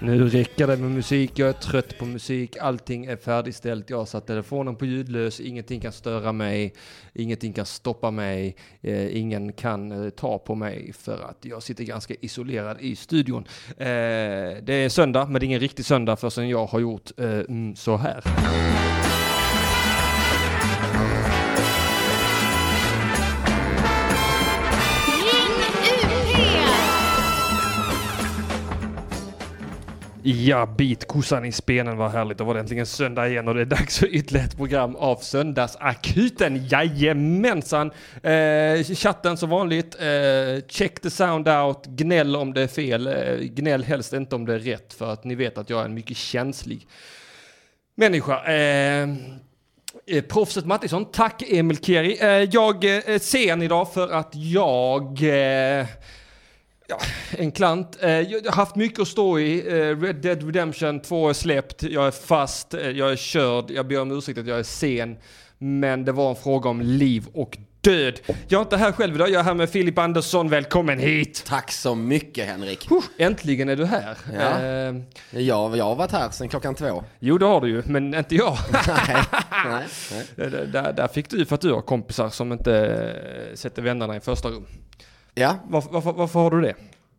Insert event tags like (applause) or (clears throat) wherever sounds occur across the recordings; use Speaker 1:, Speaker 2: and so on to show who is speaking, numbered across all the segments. Speaker 1: Nu räcker det med musik, jag är trött på musik, allting är färdigställt, jag har satt telefonen på ljudlös, ingenting kan störa mig, ingenting kan stoppa mig, eh, ingen kan eh, ta på mig för att jag sitter ganska isolerad i studion. Eh, det är söndag, men det är ingen riktig söndag förrän jag har gjort eh, mm, så här.
Speaker 2: Ring UP!
Speaker 1: Ja, bit kossan i spenen, vad härligt. Då var det äntligen söndag igen och det är dags för ytterligare ett program av Söndagsakuten. Jajamensan! Eh, chatten som vanligt, eh, check the sound out, gnäll om det är fel, eh, gnäll helst inte om det är rätt för att ni vet att jag är en mycket känslig människa. Eh, Eh, proffset Mattisson, tack Emil Keri. Eh, jag eh, är sen idag för att jag... Eh, ja, en klant. Eh, jag har haft mycket att stå i. Eh, Red Dead Redemption 2 är släppt, jag är fast, eh, jag är körd. Jag ber om ursäkt att jag är sen. Men det var en fråga om liv och död. Jag är inte här själv idag, jag är här med Filip Andersson. Välkommen hit!
Speaker 3: Tack så mycket Henrik.
Speaker 1: Huh, äntligen är du här.
Speaker 3: Ja.
Speaker 1: Eh,
Speaker 3: Jag, jag har varit här sedan klockan två.
Speaker 1: jo, det har du ju, men inte jag. (laughs) Eh, Ah.
Speaker 3: nej, nej, nej.
Speaker 1: Där, där- där fick du för att du har kompisar som inte eh, sätter vännerna i första rum.
Speaker 3: Ja,
Speaker 1: Varför, varför, varför har du det?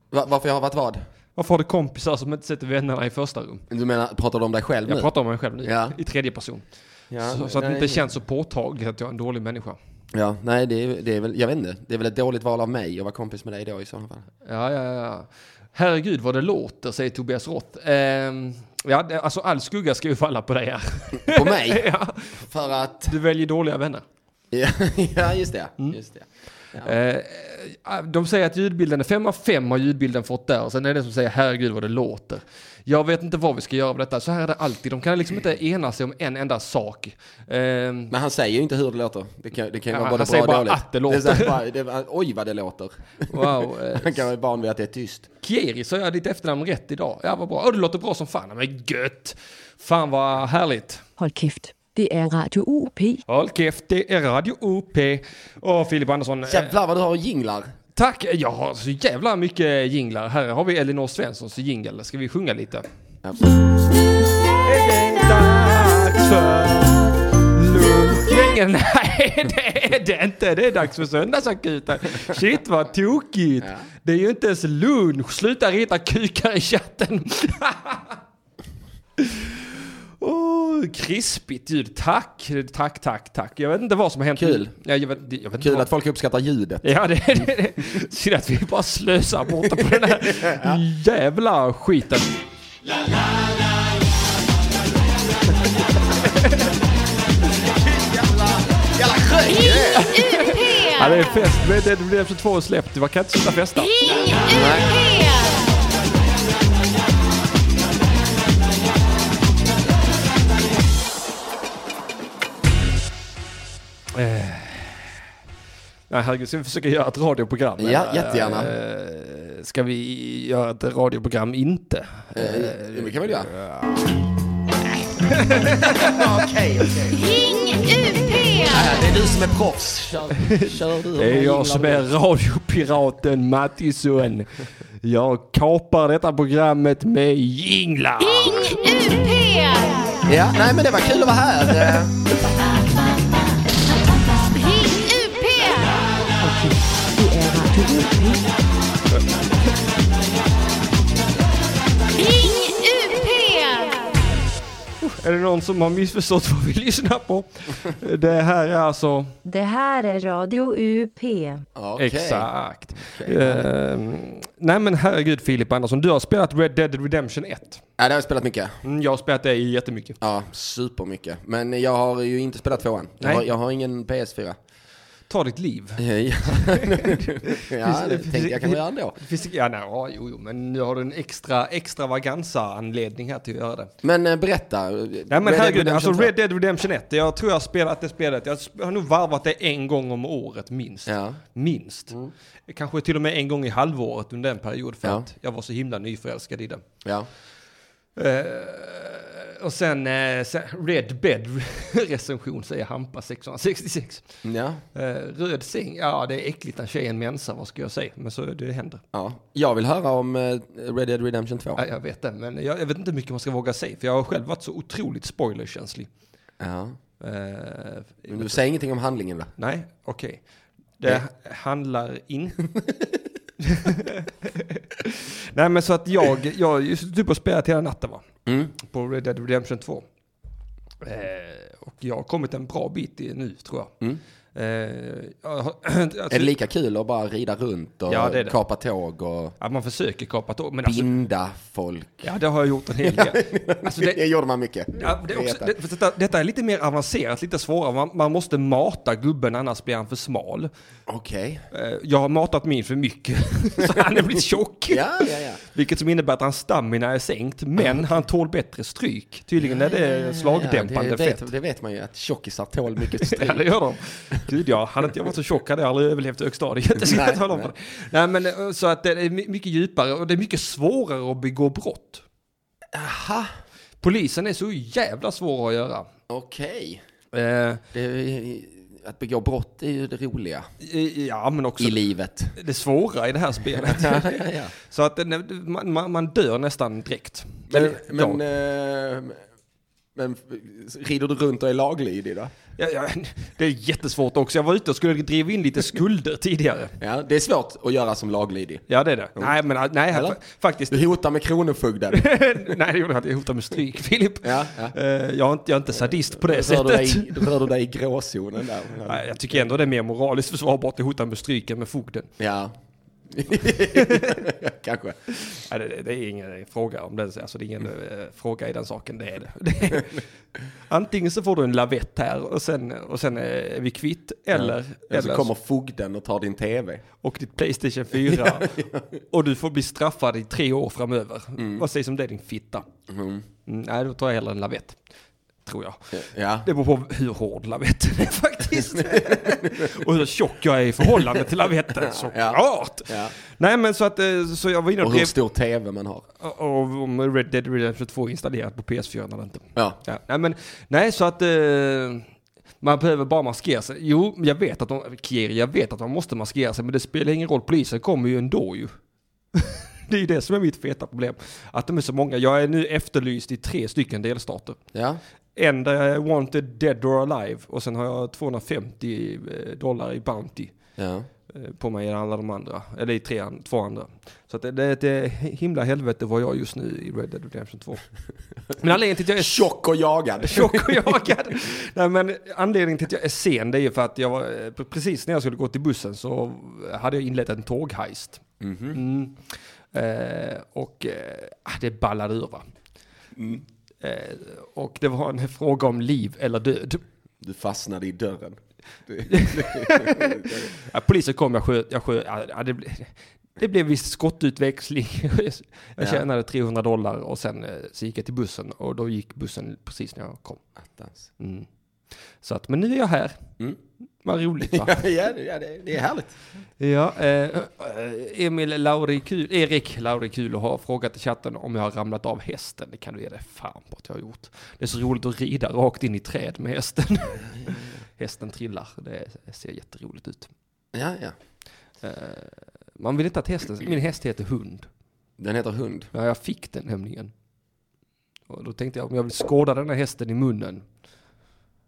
Speaker 3: va- varför jag har varit vad?
Speaker 1: Varför har du kompisar som inte sätter vännerna i första rum?
Speaker 3: Du menar, pratar du om dig själv
Speaker 1: Jag
Speaker 3: nu?
Speaker 1: pratar om mig själv nu,
Speaker 3: Mm. Ja.
Speaker 1: i tredje person.
Speaker 3: ja,
Speaker 1: så, så att det
Speaker 3: nej,
Speaker 1: inte känns så påtagligt att jag är en dålig människa.
Speaker 3: Ja, nej det är, det är väl, jag vet inte. Det är väl ett dåligt val av mig att vara kompis med dig då i sådana fall.
Speaker 1: Ja, ja, ja. Herregud vad det låter, säger Tobias Roth. Ehm, ja, det, alltså all skugga ska ju falla på dig (laughs) här.
Speaker 3: På mig?
Speaker 1: (laughs) ja,
Speaker 3: För att...
Speaker 1: du väljer dåliga vänner.
Speaker 3: Ja, (laughs) ja just det.
Speaker 1: Mm.
Speaker 3: Just det.
Speaker 1: Eh, de säger att ljudbilden är 5 av 5 har ljudbilden fått där och sen är det som säger herregud vad det låter. Jag vet inte vad vi ska göra av detta, så här är det alltid. De kan liksom inte ena sig om en enda sak. Ehm,
Speaker 3: Men han säger ju inte hur det låter. Det kan, det kan ju
Speaker 1: Ja,
Speaker 3: vara
Speaker 1: han
Speaker 3: både
Speaker 1: säger
Speaker 3: bra
Speaker 1: bara
Speaker 3: och dåligt.
Speaker 1: att det låter.
Speaker 3: Det är så här bara, det, oj vad det låter. (laughs)
Speaker 1: wow. eh,
Speaker 3: Han kan vara van vid att det är tyst.
Speaker 1: Kieri, så jag ditt efternamn rätt idag? Ja, vad bra. Åh, det låter bra som fan. Ja, Men gött! Fan vad härligt.
Speaker 4: Hold kæft. Det er Radio UP.
Speaker 1: Håll käft, det är Radio OP. Och Filip Andersson. eh,
Speaker 3: Jävlar vad du har jinglar.
Speaker 1: tack! Jag har så jävla mycket jinglar. Här har vi Elinor Svenssons jingel. Ska vi sjunga lite? Är det dags för lunchgängen? (laughs) Nej, det är det inte. Det är dags för söndagsakuten. Shit vad tokigt. Det är ju inte ens lunch. Sluta rita kukar i chatten. (laughs) Åh, krispigt ljud. Tack, tack, tack, tack. Jag vet inte vad som har hänt.
Speaker 3: Kul.
Speaker 1: Ja, jag vet, jag vet inte
Speaker 3: Kul
Speaker 1: vad-
Speaker 3: att folk uppskattar ljudet.
Speaker 1: Ja, det är det, det. synd att vi bara slösar bort det på den
Speaker 3: (laughs)
Speaker 1: här jävla skiten. Ja, det är fest. Men det blev efter två släppt. Man kan inte sluta festa.
Speaker 2: Ring UP!
Speaker 1: Nej, herregud. Ska vi försöka göra ett radioprogram?
Speaker 3: Ja, jättegärna.
Speaker 1: Eh, Ska vi göra ett radioprogram inte?
Speaker 3: Eh, Det kan vi väl göra.
Speaker 2: Ring UP!
Speaker 3: Det är du som är proffs. Kör, kör du.
Speaker 1: Det är jag som är radiopiraten Mattisson. Jag kapar detta programmet med jinglar.
Speaker 2: Ring UP!
Speaker 3: Ja, nej men det var kul att vara här. Eh,
Speaker 2: Ring UP!
Speaker 4: Det er Radio UP.
Speaker 2: Ring UP!
Speaker 1: Är det någon som har missförstått vad vi lyssnar på? Det här är alltså...
Speaker 4: Det her er Radio UP.
Speaker 3: Okej.
Speaker 1: Exakt. Ehm, nej men herregud Filip Andersson, du har spelat Red Dead Redemption 1.
Speaker 3: Ja, det har jag spelat mycket.
Speaker 1: Mm, jag har spelat det jättemycket.
Speaker 3: Ja, supermycket. Men jag har ju inte spelat tvåan. Jag,
Speaker 1: Nej.
Speaker 3: har, jag har ingen PS4.
Speaker 1: Ta ditt liv.
Speaker 3: (laughs) ja, det tänkte jag kanske göra ändå.
Speaker 1: Det finns, ja, nej, ja, jo, jo, men nu har du en extra extravaganza-anledning här till att göra det.
Speaker 3: Men eh, berätta.
Speaker 1: Nej men herregud, alltså Red Dead Redemption 1, jag tror jag har spelat det spelet, jag sp- har nog varvat det en gång om året minst.
Speaker 3: Ja. Mm.
Speaker 1: Minst. Kanske till och med en gång i halvåret under en period för
Speaker 3: Ja.
Speaker 1: att jag var så himla nyförälskad i det.
Speaker 3: Ja.
Speaker 1: Eh, och sen, eh, sen Red Bed (laughs) recension säger Hampa 666.
Speaker 3: Ja.
Speaker 1: Eh, röd säng, ja det är äckligt när tjejen mensar, vad ska jag säga? Men så det händer.
Speaker 3: ja. Jag vill höra om eh, Red Dead Redemption 2.
Speaker 1: Ja, jag vet det, men jag, jag vet inte hur mycket man ska våga säga, för jag har själv varit så otroligt spoilerkänslig.
Speaker 3: Ja.
Speaker 1: Eh,
Speaker 3: Men du säger ingenting om handlingen va?
Speaker 1: nej, okej. Det handlar inte... (laughs) nej, men så att jag, jag har ju suttit typ och spelat hela natten va,
Speaker 3: Mm.
Speaker 1: på Red Dead Redemption 2. Eh, och jag har kommit en bra bit i, nu, tror jag.
Speaker 3: Mm.
Speaker 1: Eh, jag har- (clears throat)
Speaker 3: Är
Speaker 1: alltså,
Speaker 3: det lika kul att bara rida runt och
Speaker 1: Ja, det är det.
Speaker 3: kapa tåg och
Speaker 1: att man försöker kapa tåg, men alltså,
Speaker 3: binda folk?
Speaker 1: ja, det har jag gjort en hel del. Alltså,
Speaker 3: det,
Speaker 1: det,
Speaker 3: gjorde man mycket.
Speaker 1: Ja, det är
Speaker 3: vet
Speaker 1: också,
Speaker 3: jag.
Speaker 1: det, för detta, detta är lite mer avancerat, lite svårare. Man, man måste mata gubben, annars blir han för smal.
Speaker 3: Okej.
Speaker 1: Eh, Jag har matat min för mycket, (laughs) så han är blivit tjock.
Speaker 3: Ja, ja, ja.
Speaker 1: Vilket som innebär att hans stamina är sänkt, men han tål bättre stryk. Tydligen är det slagdämpande
Speaker 3: det,
Speaker 1: fett.
Speaker 3: vet, det vet man ju att tjockisar tål
Speaker 1: (laughs)
Speaker 3: mycket
Speaker 1: Ja, det
Speaker 3: stryk.
Speaker 1: gör de. Gud ja, hade inte jag varit så tjock hade jag aldrig överlevt högstadiet. Det ska
Speaker 3: Nej,
Speaker 1: (laughs) jag tala om för dig. Nej, men eh, så att det är my- mycket djupare och det är mycket svårare att begå brott.
Speaker 3: Aha,
Speaker 1: Polisen är så jävla svår att göra.
Speaker 3: okej.
Speaker 1: Eh,
Speaker 3: Det är ju- Att begå brott är ju det roliga
Speaker 1: i- Ja, men också (laughs)
Speaker 3: i livet.
Speaker 1: det svåra i det här spelet.
Speaker 3: (laughs) Ja, ja, ja.
Speaker 1: Så att eh, nej, man, man, man dör nästan direkt. Eh,
Speaker 3: Men,
Speaker 1: ja.
Speaker 3: men, eh, men rider du runt och är laglydig då?
Speaker 1: Ja, ja, (laughs) det är jättesvårt också. Jag var ute och skulle driva in lite skulder tidigare.
Speaker 3: Ja, det är svårt att göra som laglydig.
Speaker 1: Ja, det är det. Nej, men eh, nej,
Speaker 3: Eller?
Speaker 1: fa- (laughs) faktiskt.
Speaker 3: Du hotar med kronofogden.
Speaker 1: nej, det gjorde jag inte. Jag hotade med stryk, (laughs) Filip.
Speaker 3: Ja, ja.
Speaker 1: Eh, Jag, är inte, jag är inte sadist på det
Speaker 3: Rör du,
Speaker 1: sättet.
Speaker 3: dig, rör du dig i gråzonen där?
Speaker 1: (laughs) Nej, jag tycker ändå det är mer moraliskt försvarbart att hota med stryk än med fogden. (laughs)
Speaker 3: Ja. Kanske.
Speaker 1: Nej, det, det- det är ingen fråga om det. Alltså, det är ingen
Speaker 3: Mm.
Speaker 1: eh, fråga i den saken. Det (laughs) är det. det är, antingen så får du en lavett här och sen, och sen eh, är vi kvitt. Eller,
Speaker 3: Eller
Speaker 1: eller
Speaker 3: så kommer fogden och tar din tv.
Speaker 1: och ditt
Speaker 3: (laughs)
Speaker 1: Playstation 4. och du får bli straffad i tre år framöver.
Speaker 3: Mm.
Speaker 1: Vad sägs om det din fitta? Mm, nej, då tar jag hellre en lavett. Tror jag.
Speaker 3: Ja.
Speaker 1: Det beror på hur hård lavetten är
Speaker 3: (laughs)
Speaker 1: faktiskt. och hur tjock jag är i förhållande till lavetten såklart.
Speaker 3: Ja.
Speaker 1: Nej men så att, eh, så jag var inne och
Speaker 3: Och hur
Speaker 1: drev
Speaker 3: stor tv man har.
Speaker 1: och- och om Red Dead Redemption 2 är installerat på PS4 eller inte.
Speaker 3: Ja.
Speaker 1: Ja, nej, men, nej, så att eh, man behöver bara maskera sig. Jo, jag vet, att de, Kier, jag vet att man måste maskera sig, men det spelar ingen roll. Polisen kommer ju ändå ju. (laughs) det är ju det som är mitt feta problem. Att de är så många. Jag är nu efterlyst i tre stycken delstater.
Speaker 3: Ja.
Speaker 1: En där jag är wanted dead or alive och sen har jag 250 dollar i Bounty
Speaker 3: Ja.
Speaker 1: eh, på mig i alla de andra, eller i tre, an- två andra. Så att det, det är ett eh, himla helvete vad jag är just nu i Red Dead Redemption 2. Men anledningen till att jag är
Speaker 3: Tjock och jagad.
Speaker 1: tjock och jagad. Nej, men anledningen till att jag är sen det är ju för att jag var, eh, precis när jag skulle gå till bussen så hade jag inlett en tågheist. Mm. Eh, och eh, ah, det ballade ur va. Eh, och det var en fråga om liv eller död.
Speaker 3: Du fastnade i dörren.
Speaker 1: Ja, polisen kom, jag sköt, jag sköt, ja, det, blev, det blev viss skottutväxling. (laughs) Jag
Speaker 3: Ja.
Speaker 1: tjänade 300 dollar och sen eh, så gick jag till bussen och då gick bussen precis när jag kom.
Speaker 3: Attans.
Speaker 1: Mm. Så att, men nu är jag här.
Speaker 3: Mm.
Speaker 1: Vad roligt va?
Speaker 3: (laughs) Ja, ja, det- ja det, det är härligt.
Speaker 1: Ja, eh, eh, Emil Laurikul, Erik Laurikul har frågat i chatten om jag har ramlat av hästen. Det kan du ge dig fan på att jag har gjort. Det är så roligt att rida rakt in i träd med hästen. (laughs) hästen trillar, det ser jätteroligt ut.
Speaker 3: Ja, ja.
Speaker 1: Eh, man vill inte att hästen, min häst heter hund.
Speaker 3: Den heter hund.
Speaker 1: Ja, jag fick den nämligen. Och då tänkte jag om jag vill skåda den här hästen i munnen.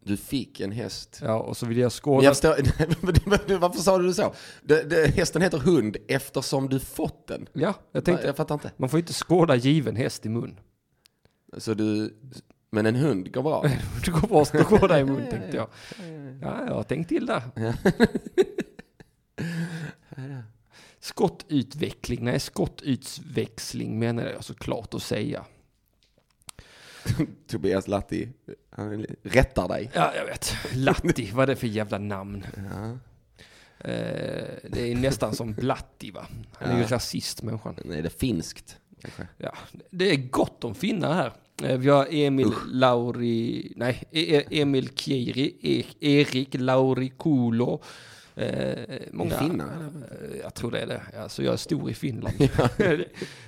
Speaker 3: Du fick en häst.
Speaker 1: Ja, och så vill jag
Speaker 3: Men
Speaker 1: skåda.
Speaker 3: Jag förstår, (laughs) varför sa du så? Det, det, hästen heter hund eftersom du fått den.
Speaker 1: Ja, jag tänkte.
Speaker 3: Jag fattar inte.
Speaker 1: Man får inte skåda given häst i mun.
Speaker 3: Så du, men en hund går bra.
Speaker 1: Det går bra att gå där i mun tänkte jag. (laughs) Ja, jag har tänkt till där. (laughs) Skottutveckling, nej skottutväxling menar jag såklart att säga.
Speaker 3: (laughs) Tobias Latti, han rättar dig.
Speaker 1: Ja, jag vet. Latti, vad är det för jävla (laughs) namn? Eh, det är nästan som Blatti va? Han är ju
Speaker 3: Ja.
Speaker 1: rasist människan.
Speaker 3: Nej, det är finskt kanske.
Speaker 1: Ja, det är gott om finnar här. Eh, Vi har Emil Lauri, nej, E- E- Emil Kieri, E- Erik Laurikulo, Eh,
Speaker 3: Många
Speaker 1: många,
Speaker 3: finnar.
Speaker 1: Eh, Jag tror det är det. Alltså, jag är stor i
Speaker 3: (laughs)
Speaker 1: Finland.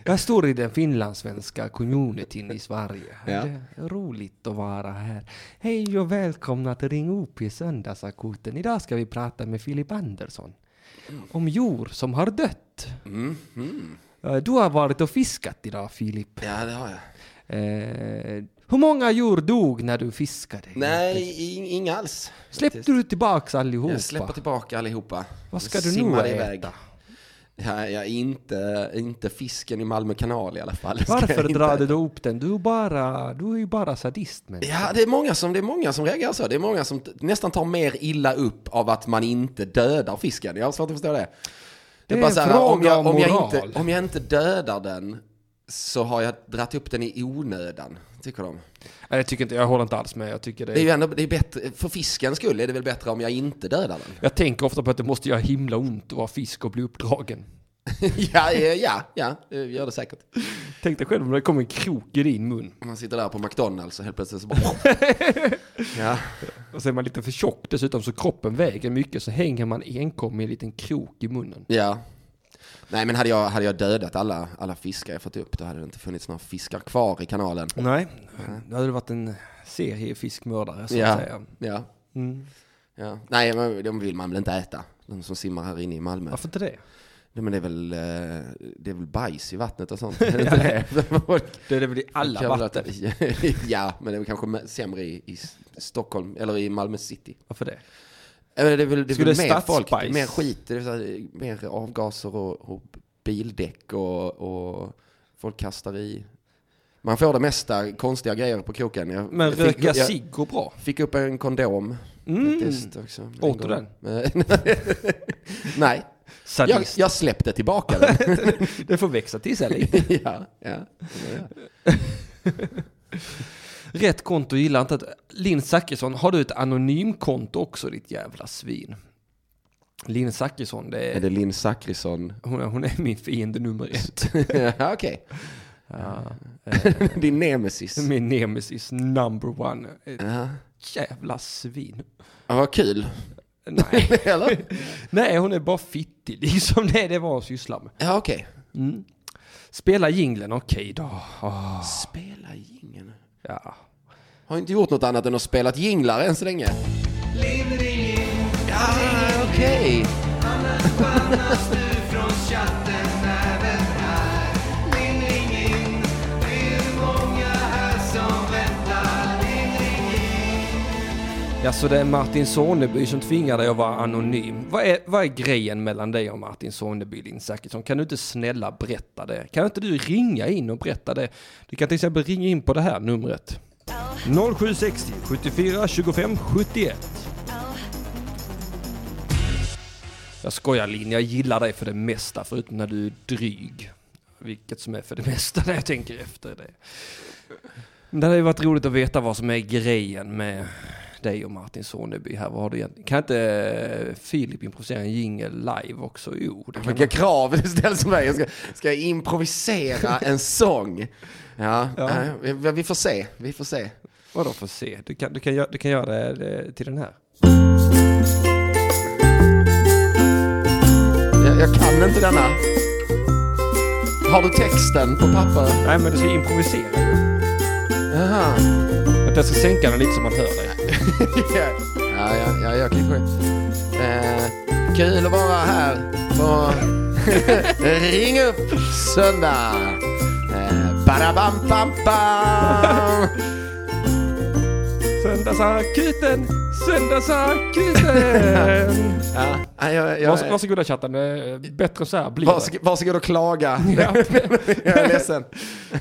Speaker 1: jag är stor i den finlandssvenska communityn i Sverige.
Speaker 3: Ja.
Speaker 1: Det är roligt att vara här. Hej och välkomna till Ring OP i Söndagsakuten. Idag ska vi prata med Filip Andersson om djur som har dött. Eh, Du har varit och fiskat idag Filip.
Speaker 3: Mhm. Ja, det har jag.
Speaker 1: Eh, hur många djur dog när du fiskade?
Speaker 3: Nej, i- inga alls.
Speaker 1: Släppte du tillbaks allihopa?
Speaker 3: Jag släpper tillbaka allihopa.
Speaker 1: Vad ska du nu
Speaker 3: Simmar
Speaker 1: äta?
Speaker 3: iväg. Ja, ja, inte, inte fisken i Malmö kanal i alla fall. Det ska
Speaker 1: Varför
Speaker 3: jag (laughs) inte-
Speaker 1: drar du då upp den? Du är, bara, du är ju bara sadist men.
Speaker 3: Ja, det är, många som, det är många som reagerar så. Det är många som t- nästan tar mer illa upp av att man inte dödar fisken. Jag har svårt att förstå det.
Speaker 1: Det är en
Speaker 3: så här,
Speaker 1: fråga
Speaker 3: om, jag,
Speaker 1: om
Speaker 3: om, jag
Speaker 1: moral.
Speaker 3: inte, om jag inte dödar den så har jag dratt upp den i onödan, tycker de.
Speaker 1: Nej, jag, tycker inte, jag håller inte alls med. Jag, tycker det
Speaker 3: Det är ju ändå, det är bättre, för fiskens skull är det väl bättre om jag inte dödar den? (laughs)
Speaker 1: jag tänker ofta på att det måste göra himla ont att vara fisk och bli uppdragen.
Speaker 3: ja, eh, ja, ja, eh, gör det säkert.
Speaker 1: Tänk dig själv om det kom en krok i din mun.
Speaker 3: Man sitter där på McDonalds och helt plötsligt så bara...
Speaker 1: (laughs)
Speaker 3: ja.
Speaker 1: Och så är man lite för tjock dessutom så kroppen väger mycket så hänger man enkom med en liten krok i munnen.
Speaker 3: ja. Nej, men hade jag, hade jag dödat alla, alla fiskar jag fått upp då hade det inte funnits några fiskar kvar i kanalen.
Speaker 1: Nej, då hade du varit en seriefiskmördare så att
Speaker 3: Ja.
Speaker 1: säga.
Speaker 3: Ja.
Speaker 1: Mm.
Speaker 3: ja. Nej, men de vill man väl inte äta? De som simmar här inne i Malmö.
Speaker 1: Varför inte det?
Speaker 3: Nej, men det är väl, eh, det är väl bajs i vattnet
Speaker 1: (laughs)
Speaker 3: och sånt? Är det inte det? (laughs) Folk-
Speaker 1: Det är väl i alla
Speaker 3: Kul att-
Speaker 1: vatten.
Speaker 3: (laughs) ja, men det är väl kanske sämre i, i Stockholm, eller i Malmö city.
Speaker 1: Varför det?
Speaker 3: Ja, men Det är väl, det är
Speaker 1: Skulle
Speaker 3: väl mer folk,
Speaker 1: stadsbajs-
Speaker 3: mer skit, det är så här, mer avgaser och, och bildäck och, och folk kastar i. Man får det mesta konstiga grejer på kroken. Jag,
Speaker 1: Men
Speaker 3: jag fick-
Speaker 1: röka
Speaker 3: jag
Speaker 1: cigg går bra.
Speaker 3: Fick upp en kondom.
Speaker 1: Mm.
Speaker 3: faktiskt också. En
Speaker 1: Åt du
Speaker 3: gång. (laughs) Nej, jag,
Speaker 1: Sadist.
Speaker 3: jag släppte tillbaka den.
Speaker 1: (laughs)
Speaker 3: (laughs)
Speaker 1: Det får växa till sig lite.
Speaker 3: ja, ja.
Speaker 1: (laughs) Rätt konto gillar inte att... Linn Zachrisson, har du ett anonymkonto också ditt jävla svin? Linn Zachrisson, det
Speaker 3: Är
Speaker 1: är,
Speaker 3: det Linn Zachrisson?
Speaker 1: hon, är- hon är min fiende nummer ett.
Speaker 3: (laughs) ja, Okej,
Speaker 1: Ja.
Speaker 3: (laughs)
Speaker 1: (laughs)
Speaker 3: din nemesis.
Speaker 1: Min nemesis number one. Ett
Speaker 3: Ja.
Speaker 1: jävla svin.
Speaker 3: Ja, vad kul. (laughs)
Speaker 1: Nej.
Speaker 3: Eller?
Speaker 1: Nej, hon är bara fittig liksom. Det är det var hon sysslar med.
Speaker 3: Ja, okej.
Speaker 1: Mm. Spela jinglen, okej då. Ah,
Speaker 3: Spela jingeln.
Speaker 1: Ja.
Speaker 3: Har inte gjort något annat än att spela jinglar än så länge. Ja, okej.
Speaker 1: Ja, så det är Martin Soneby som tvingar dig att vara anonym. Vad är, vad är grejen mellan dig och Martin Soneby, Linn Zachrisson? Kan du inte snälla berätta det? Kan inte du ringa in och berätta det? Du kan till exempel ringa in på det här numret. 0760 74 25 71. Jag skojar Linn, jag gillar dig för det mesta förutom när du är dryg. Vilket som är för det mesta när jag tänker efter det. Men det hade ju varit roligt att veta vad som är grejen med dig och Martin Soneby här. Vad har du egentligen? Kan inte eh, Filip improvisera en jingel live också? Jo, det kan
Speaker 3: Vilka krav det ställs på mig. Jag ska, ska jag improvisera en sång? Ja,
Speaker 1: Ja.
Speaker 3: eh, vi, vi får se. Vi får se.
Speaker 1: Vadå för se? Du kan, du kan, göra, du kan göra det eh, till den här.
Speaker 3: Jag, jag kan inte denna. Har du texten på papper?
Speaker 1: Nej, men du ska improvisera ju.
Speaker 3: Jaha.
Speaker 1: Vänta, Jag ska sänka den lite så man hör dig.
Speaker 3: ja, ja, ja, jag klipper in. Eh, kul att vara här på (laughs) Ring upp söndag. Eh, Barabam, bam, bam.
Speaker 1: Söndagsakuten! (laughs) Söndagsakuten!
Speaker 3: Ja, nej, jag, jag,
Speaker 1: Vars, varsågoda chatten, eh, bättre så här blir det.
Speaker 3: varsågod, varsågod och klaga.
Speaker 1: (laughs) Ja.
Speaker 3: jag är ledsen.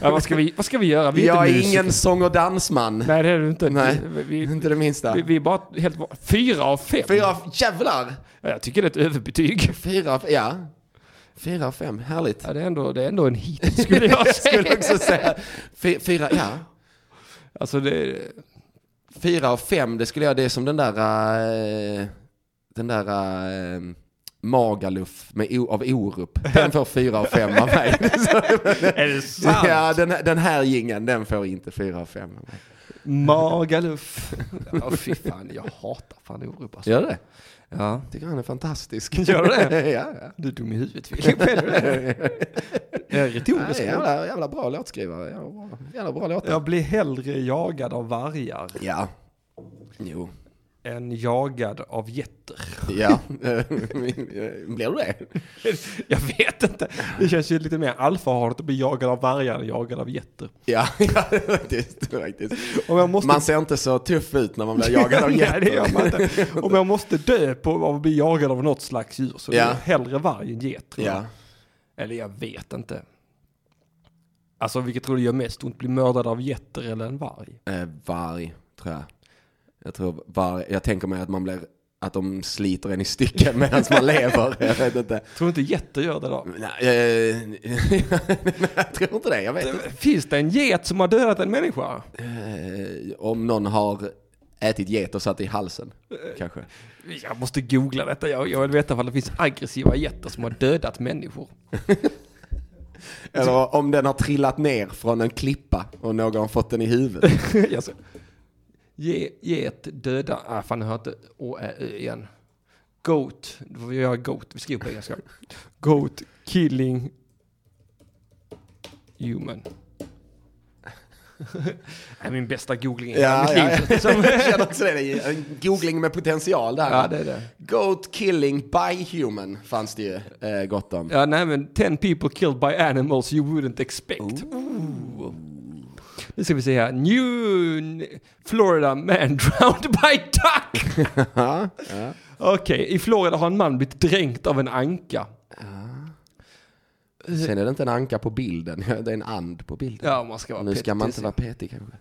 Speaker 1: Ja, vad, ska vi, vad ska vi göra? (laughs) Vi är
Speaker 3: Jag
Speaker 1: inte
Speaker 3: är
Speaker 1: musiker.
Speaker 3: ingen sång och dansman.
Speaker 1: Nej, det är du inte.
Speaker 3: Nej,
Speaker 1: Vi, vi,
Speaker 3: inte det minsta.
Speaker 1: vi, vi är bara helt... va- Fyra av fem?
Speaker 3: Fyra, av- jävlar!
Speaker 1: Ja, jag tycker det är ett överbetyg.
Speaker 3: Fyra, av- ja. Fyra av fem, härligt.
Speaker 1: Ja, det, är ändå, det är ändå en hit, skulle (laughs) jag säga.
Speaker 3: Skulle också säga. Fy- Fyra, ja.
Speaker 1: Alltså, det,
Speaker 3: Fyra av fem, det skulle jag, det är som den där, eh, den där eh, Magaluf med, O- av Orup.
Speaker 1: (laughs)
Speaker 3: Den får fyra av fem av mig.
Speaker 1: är det (laughs)
Speaker 3: ja, den, här- den här gingen, den får inte fyra av fem av mig.
Speaker 1: Magaluf. Ja, fy fan, jag hatar fan Orup alltså.
Speaker 3: Gör det?
Speaker 1: Ja.
Speaker 3: tycker han är fantastisk.
Speaker 1: (laughs) Gör du det?
Speaker 3: (laughs) ja, ja.
Speaker 1: Du är dum i huvudet (laughs) Filip, är du det? Jag är retorisk.
Speaker 3: Nej, jävla, jävla bra låtskrivare. Jävla bra, jävla bra låtar.
Speaker 1: Jag blir hellre jagad av vargar
Speaker 3: Ja. Jo.
Speaker 1: än jagad av getter. (laughs)
Speaker 3: Ja. Blir du det?
Speaker 1: Jag vet inte. Det känns ju lite mer alfahart att bli jagad av vargar än jagad av getter.
Speaker 3: Ja, (laughs) ja faktiskt. faktiskt.
Speaker 1: Om jag måste...
Speaker 3: Man ser inte så tuff ut när man blir jagad
Speaker 1: (laughs)
Speaker 3: av
Speaker 1: Nej, det gör man
Speaker 3: getter.
Speaker 1: inte. Om jag måste dö på av att bli jagad av något slags djur så är
Speaker 3: Ja.
Speaker 1: jag hellre varg än get. tror jag.
Speaker 3: Ja.
Speaker 1: Eller jag vet inte. Alltså vilket tror du gör mest ont? Bli mördad av getter eller en varg?
Speaker 3: Eh, varg, tror jag. Jag, tror varg. jag tänker mig att man blir att de sliter en i stycken (laughs) medan man lever. Jag vet inte.
Speaker 1: Tror du inte getter gör det då?
Speaker 3: Nej, eh, (laughs) jag tror inte det. Jag vet inte.
Speaker 1: Finns det en get som har dödat en människa?
Speaker 3: Eh, Om någon har ätit get och satt i halsen. Kanske.
Speaker 1: Jag måste googla detta. Jag, jag vill veta om det finns aggressiva getter som har dödat människor.
Speaker 3: Eller om den har trillat ner från en klippa och någon har fått den
Speaker 1: (laughs)
Speaker 3: i huvudet.
Speaker 1: (laughs) jag ska... Ge, get döda... Ah, fan, jag hör inte å, ä, ö igen. Goat. Då får vi göra goat. Vi skriver på engelska. Goat killing (laughs) human. Det är min bästa googling i hela
Speaker 3: Ja,
Speaker 1: mitt
Speaker 3: ja,
Speaker 1: liv.
Speaker 3: (laughs) ja. Jag känner också det. Det är en googling med potential
Speaker 1: (laughs)
Speaker 3: där.
Speaker 1: Ja, det är det.
Speaker 3: Goat killing by human fanns det ju eh, gott om.
Speaker 1: Ja, nej men 10 people killed by animals you wouldn't expect. Ooh. Nu ska vi se här. New Florida man (laughs) drowned by duck.
Speaker 3: (laughs) Ja.
Speaker 1: Okej, i Florida har en man blivit dränkt av en anka.
Speaker 3: Sen är det inte en anka på bilden, (laughs) det är en and på bilden.
Speaker 1: Ja, om man ska vara
Speaker 3: nu ska man inte
Speaker 1: petig.
Speaker 3: vara petig kanske.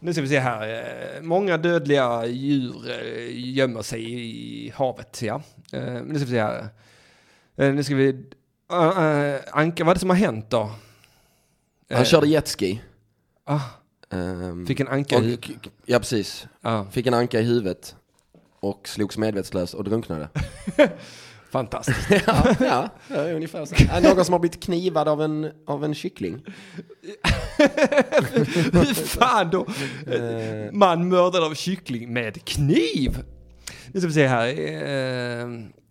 Speaker 1: Nu ska vi se här. Eh, Många dödliga djur eh, gömmer sig i havet, ja. Eh, Nu ska vi se här. Eh, Nu ska vi... Eh, eh, Anka, vad är det som har hänt då?
Speaker 3: Han körde jetski.
Speaker 1: Eh. Ah,
Speaker 3: Ehm,
Speaker 1: Eh, fick en anka i...
Speaker 3: och, ja, precis.
Speaker 1: Ah,
Speaker 3: Fick en anka i huvudet och slogs medvetslös
Speaker 1: (laughs)
Speaker 3: och drunknade.
Speaker 1: fantastiskt. (laughs)
Speaker 3: ja, ja, det är ungefär så. Ja, Någon som har blivit knivad av en, av en kyckling.
Speaker 1: Fy fan då! Eh, Man mördad av kyckling med kniv! Nu ska vi se här. Eh,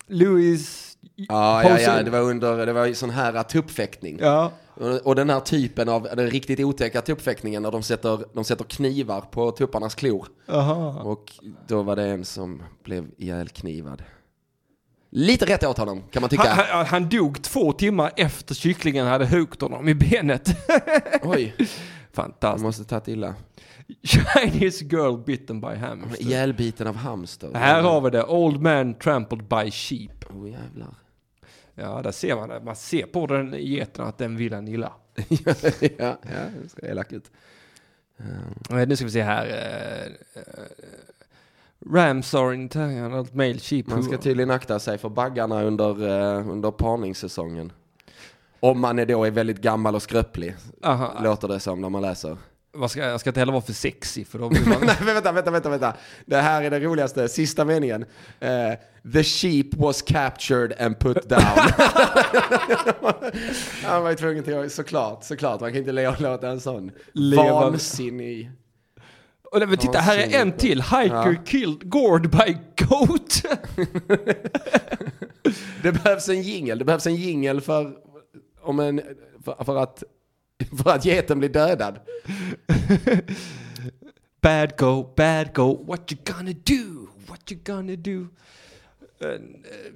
Speaker 1: Louis...
Speaker 3: Ja, ja, ja,
Speaker 1: Paulsen.
Speaker 3: det var under, det var ju sån här äh, tuppfäktning.
Speaker 1: Ja.
Speaker 3: Och, och den här typen av, den riktigt otäcka tuppfäktningen när de sätter, de sätter knivar på tupparnas klor.
Speaker 1: Aha.
Speaker 3: Och då var det en som blev ihjälknivad. Lite rätt åt honom kan man
Speaker 1: Han,
Speaker 3: tycka.
Speaker 1: han, han dog två timmar efter kycklingen hade huggit honom i benet. (laughs)
Speaker 3: (laughs) Oj, han
Speaker 1: Fantastiskt.
Speaker 3: måste tagit illa.
Speaker 1: Chinese girl bitten by hamster.
Speaker 3: Ihjälbiten av hamster.
Speaker 1: Här har vi det. Old man trampled by sheep.
Speaker 3: Åh jävlar.
Speaker 1: Ja, där ser man det. Man ser på den geten att den vill en illa.
Speaker 3: (laughs) ja, ja, det ser elakt ut.
Speaker 1: Eh, Nu ska vi se här. eh, eh, Rams are internal male sheep.
Speaker 3: Man ska
Speaker 1: who-
Speaker 3: tydligen akta sig för baggarna under, eh, under parningssäsongen. Om man är då är väldigt gammal och skröplig,
Speaker 1: Aha,
Speaker 3: låter det som när man läser.
Speaker 1: Man ska, jag ska inte heller vara för sexy för
Speaker 3: (laughs)
Speaker 1: då blir man...
Speaker 3: Nej, men vänta, vänta, vänta, vänta. Det här är det roligaste, sista meningen. Eh, the sheep was captured and put down. (laughs) Han var ju tvungen till att, såklart, såklart, man kan inte le och låta en sån
Speaker 1: Leva-
Speaker 3: vansinnig.
Speaker 1: Och nej, men titta, här är en till. Hiker killed gored by goat. (laughs)
Speaker 3: Det behövs en jingel, det behövs en jingel för, om en, för, för att för att geten blir dödad.
Speaker 1: Bad go, bad go, what you gonna do? What you gonna do? Eh, eh,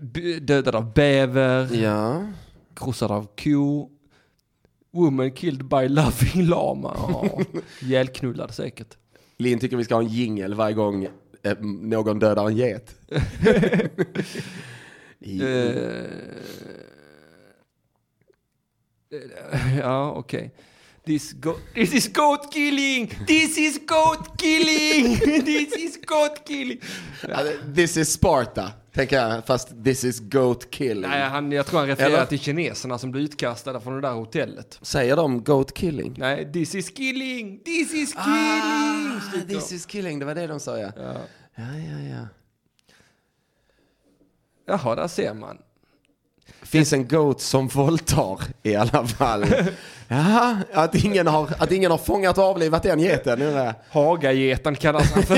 Speaker 1: b- Dödad av bäver,
Speaker 3: Ja.
Speaker 1: krossad av ko. Woman killed by (laughs) loving lama.
Speaker 3: (laughs)
Speaker 1: Ja, Ihjälknullad säkert.
Speaker 3: Lin tycker vi ska ha en jingel varje gång eh, någon dödar en get. (laughs) I-
Speaker 1: Eh, ja, okej. This, go- this is goat killing! This is goat killing! (laughs) This is goat killing!
Speaker 3: Ja, det- This is Sparta, tänker jag, fast this is goat killing.
Speaker 1: Nej, han, jag tror han refererar
Speaker 3: Eller?
Speaker 1: till kineserna som blev utkastade från det där hotellet.
Speaker 3: Säger de goat killing?
Speaker 1: Nej, this is killing! This is killing!
Speaker 3: Ah, this is killing, det var det de sa ja.
Speaker 1: Ja.
Speaker 3: Ja, ja, ja.
Speaker 1: Jaha, där ser man.
Speaker 3: Finns en goat som våldtar i alla (laughs) fall. Jaha, att ingen har, att ingen har fångat och avlivat den geten. undrar jag. (laughs)
Speaker 1: Hagageten kallas han för.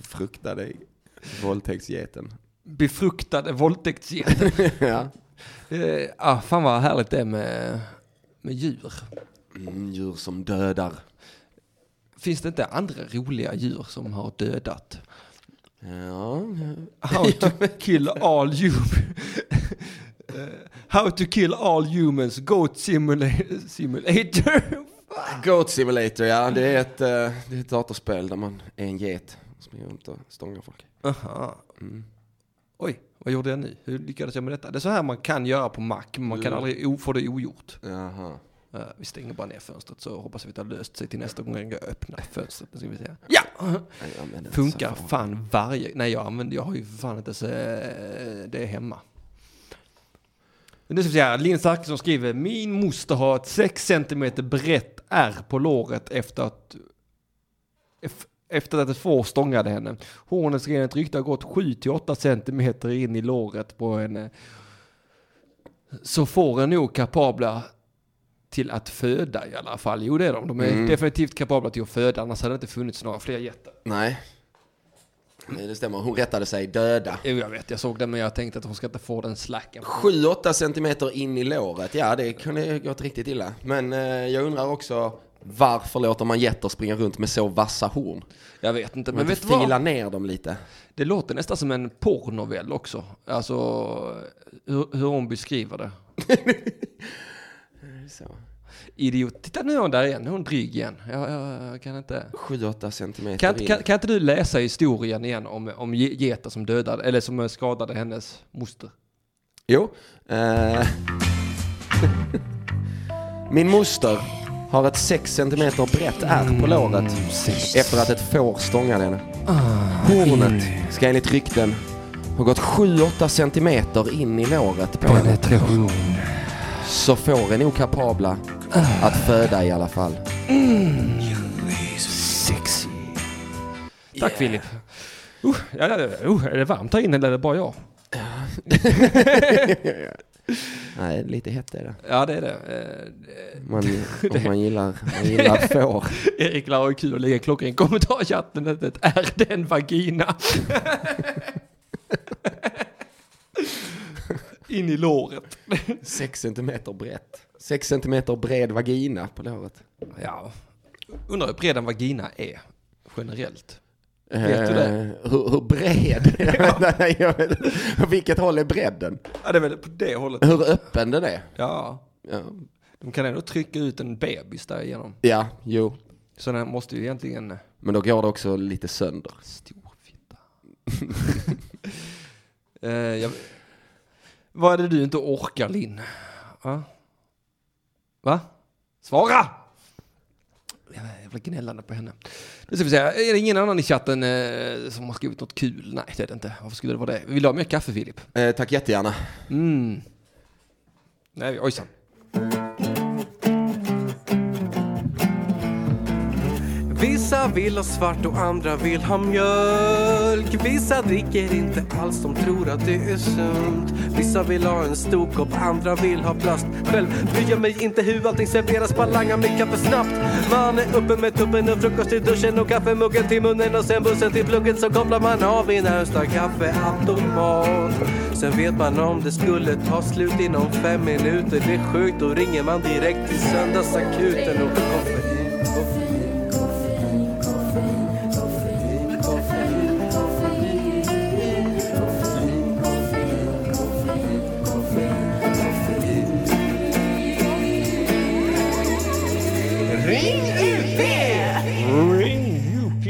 Speaker 3: Frukta dig. Våldtäktsgeten.
Speaker 1: Befruktade våldtäktsgeten.
Speaker 3: (laughs) ja.
Speaker 1: Eh, ah, fan vad härligt det är med, med djur.
Speaker 3: Mm, djur som dödar.
Speaker 1: Finns det inte andra roliga djur som har dödat?
Speaker 3: Ja,
Speaker 1: (laughs) How to kill all humans. (laughs) How to kill all humans. Goat simula- simulator.
Speaker 3: Goat Simulator, ja. Det är ett, eh, det är ett datorspel där man är en get. och Springer runt och stångar folk.
Speaker 1: (laughs) Aha.
Speaker 3: Mm.
Speaker 1: Oj, vad gjorde jag nu? Hur lyckades jag med detta? Det är så här man kan göra på Mac, men man kan
Speaker 3: Mm.
Speaker 1: aldrig o- få det ogjort.
Speaker 3: Jaha.
Speaker 1: Eh, vi stänger bara ner fönstret så hoppas vi att det har löst sig till nästa gång jag öppnar fönstret. Nu ska vi se. Ja!
Speaker 3: Nej, jag använder inte
Speaker 1: Funkar
Speaker 3: så.
Speaker 1: fan varje... Nej, jag använder... Jag har ju för fan inte ens eh, det hemma. Nu ska vi se här. Linn Zachrisson skriver. Min moster har ett 6 cm brett ärr på låret efter att... ef- Efter att ett får stångade henne. Hornets enligt rykte har gått 7-8 cm in i låret på henne. Så får är nog kapabla till att föda i alla fall. Jo det är de. De är
Speaker 3: Mm.
Speaker 1: definitivt kapabla till att föda. Annars hade det inte funnits några fler jättar.
Speaker 3: Nej. Nej, det stämmer. Hon rättade sig döda.
Speaker 1: Jo, jag vet, jag såg det men jag tänkte att hon ska inte få den slacken.
Speaker 3: 7-8 centimeter in i låret, ja det kunde gått riktigt illa. Men eh, jag undrar också varför låter man getter springa runt med så vassa horn?
Speaker 1: Jag vet inte, men
Speaker 3: Men
Speaker 1: vet du
Speaker 3: fila
Speaker 1: vad?
Speaker 3: ner dem lite.
Speaker 1: Det låter nästan som en porrnovell också. Alltså, hur, hur hon beskriver det.
Speaker 3: Så.
Speaker 1: Idiot. Titta nu är hon där igen, nu är hon dryg igen. Jag, jag, jag kan inte.
Speaker 3: 7-8 centimeter
Speaker 1: Kan, inte-
Speaker 3: in.
Speaker 1: kan, kan inte du läsa historien igen om, om ge- getar som dödade, eller som skadade hennes moster?
Speaker 3: Jo. Eh. Min moster har ett 6 centimeter brett ärr på låret efter att ett får stångade henne. Hornet ska enligt rykten ha gått 7-8 centimeter in i låret på henne.
Speaker 1: Penetration.
Speaker 3: Så får är nog kapabla att föda i alla fall.
Speaker 1: Sexy. Tack Filip. Uh, ja, ja, ja, uh, är det varmt här inne eller är det bara jag?
Speaker 3: Nej, lite hett är det.
Speaker 1: Ja, det är det. Eh,
Speaker 3: Man, om man gillar, man gillar får.
Speaker 1: Erik Lau är kul att lägga klockan i en kommentar i chatten. att det Är det en vagina? (laughs) In i låret.
Speaker 3: 6 centimeter brett. 6 centimeter bred vagina på låret.
Speaker 1: Ja. Undrar hur bred en vagina är generellt.
Speaker 3: Vet
Speaker 1: du
Speaker 3: Eh, Hur, hur (laughs) bred? Jag vet inte, jag vet inte. Vilket håll är bredden?
Speaker 1: Ja, det är väl på det hållet.
Speaker 3: Hur öppen den är?
Speaker 1: Ja.
Speaker 3: Ja,
Speaker 1: De kan ändå trycka ut en bebis därigenom.
Speaker 3: ja jo.
Speaker 1: Så den måste ju egentligen...
Speaker 3: Men då går det också lite sönder.
Speaker 1: Stor fitta. (laughs) eh, jag... Vad är det du inte orkar, Linn? Va? Va? Svara! Jävla gnällande på henne. Nu ska vi se, är det ingen annan i chatten eh, som har skrivit något kul? Nej, det är det inte. Varför skulle det vara det? Vill du ha mer kaffe, Filip?
Speaker 3: Eh, tack jättegärna.
Speaker 1: Mm. Nej, ojsan.
Speaker 5: Vissa vill ha svart och andra vill ha mjölk. Vissa dricker inte alls, de tror att det är sunt. Vissa vill ha en stor kopp, andra vill ha plast. Själv bryr jag mig inte hur allting serveras, bara langar mitt kaffe snabbt. Man är uppe med tuppen och frukost i duschen och kaffemuggen till munnen och sen bussen till plugget så kopplar man av i närmsta kaffeautomat. Sen vet man om det skulle ta slut inom fem minuter. Det är sjukt, då ringer man direkt till söndagsakuten och koffein.
Speaker 1: Ring UP.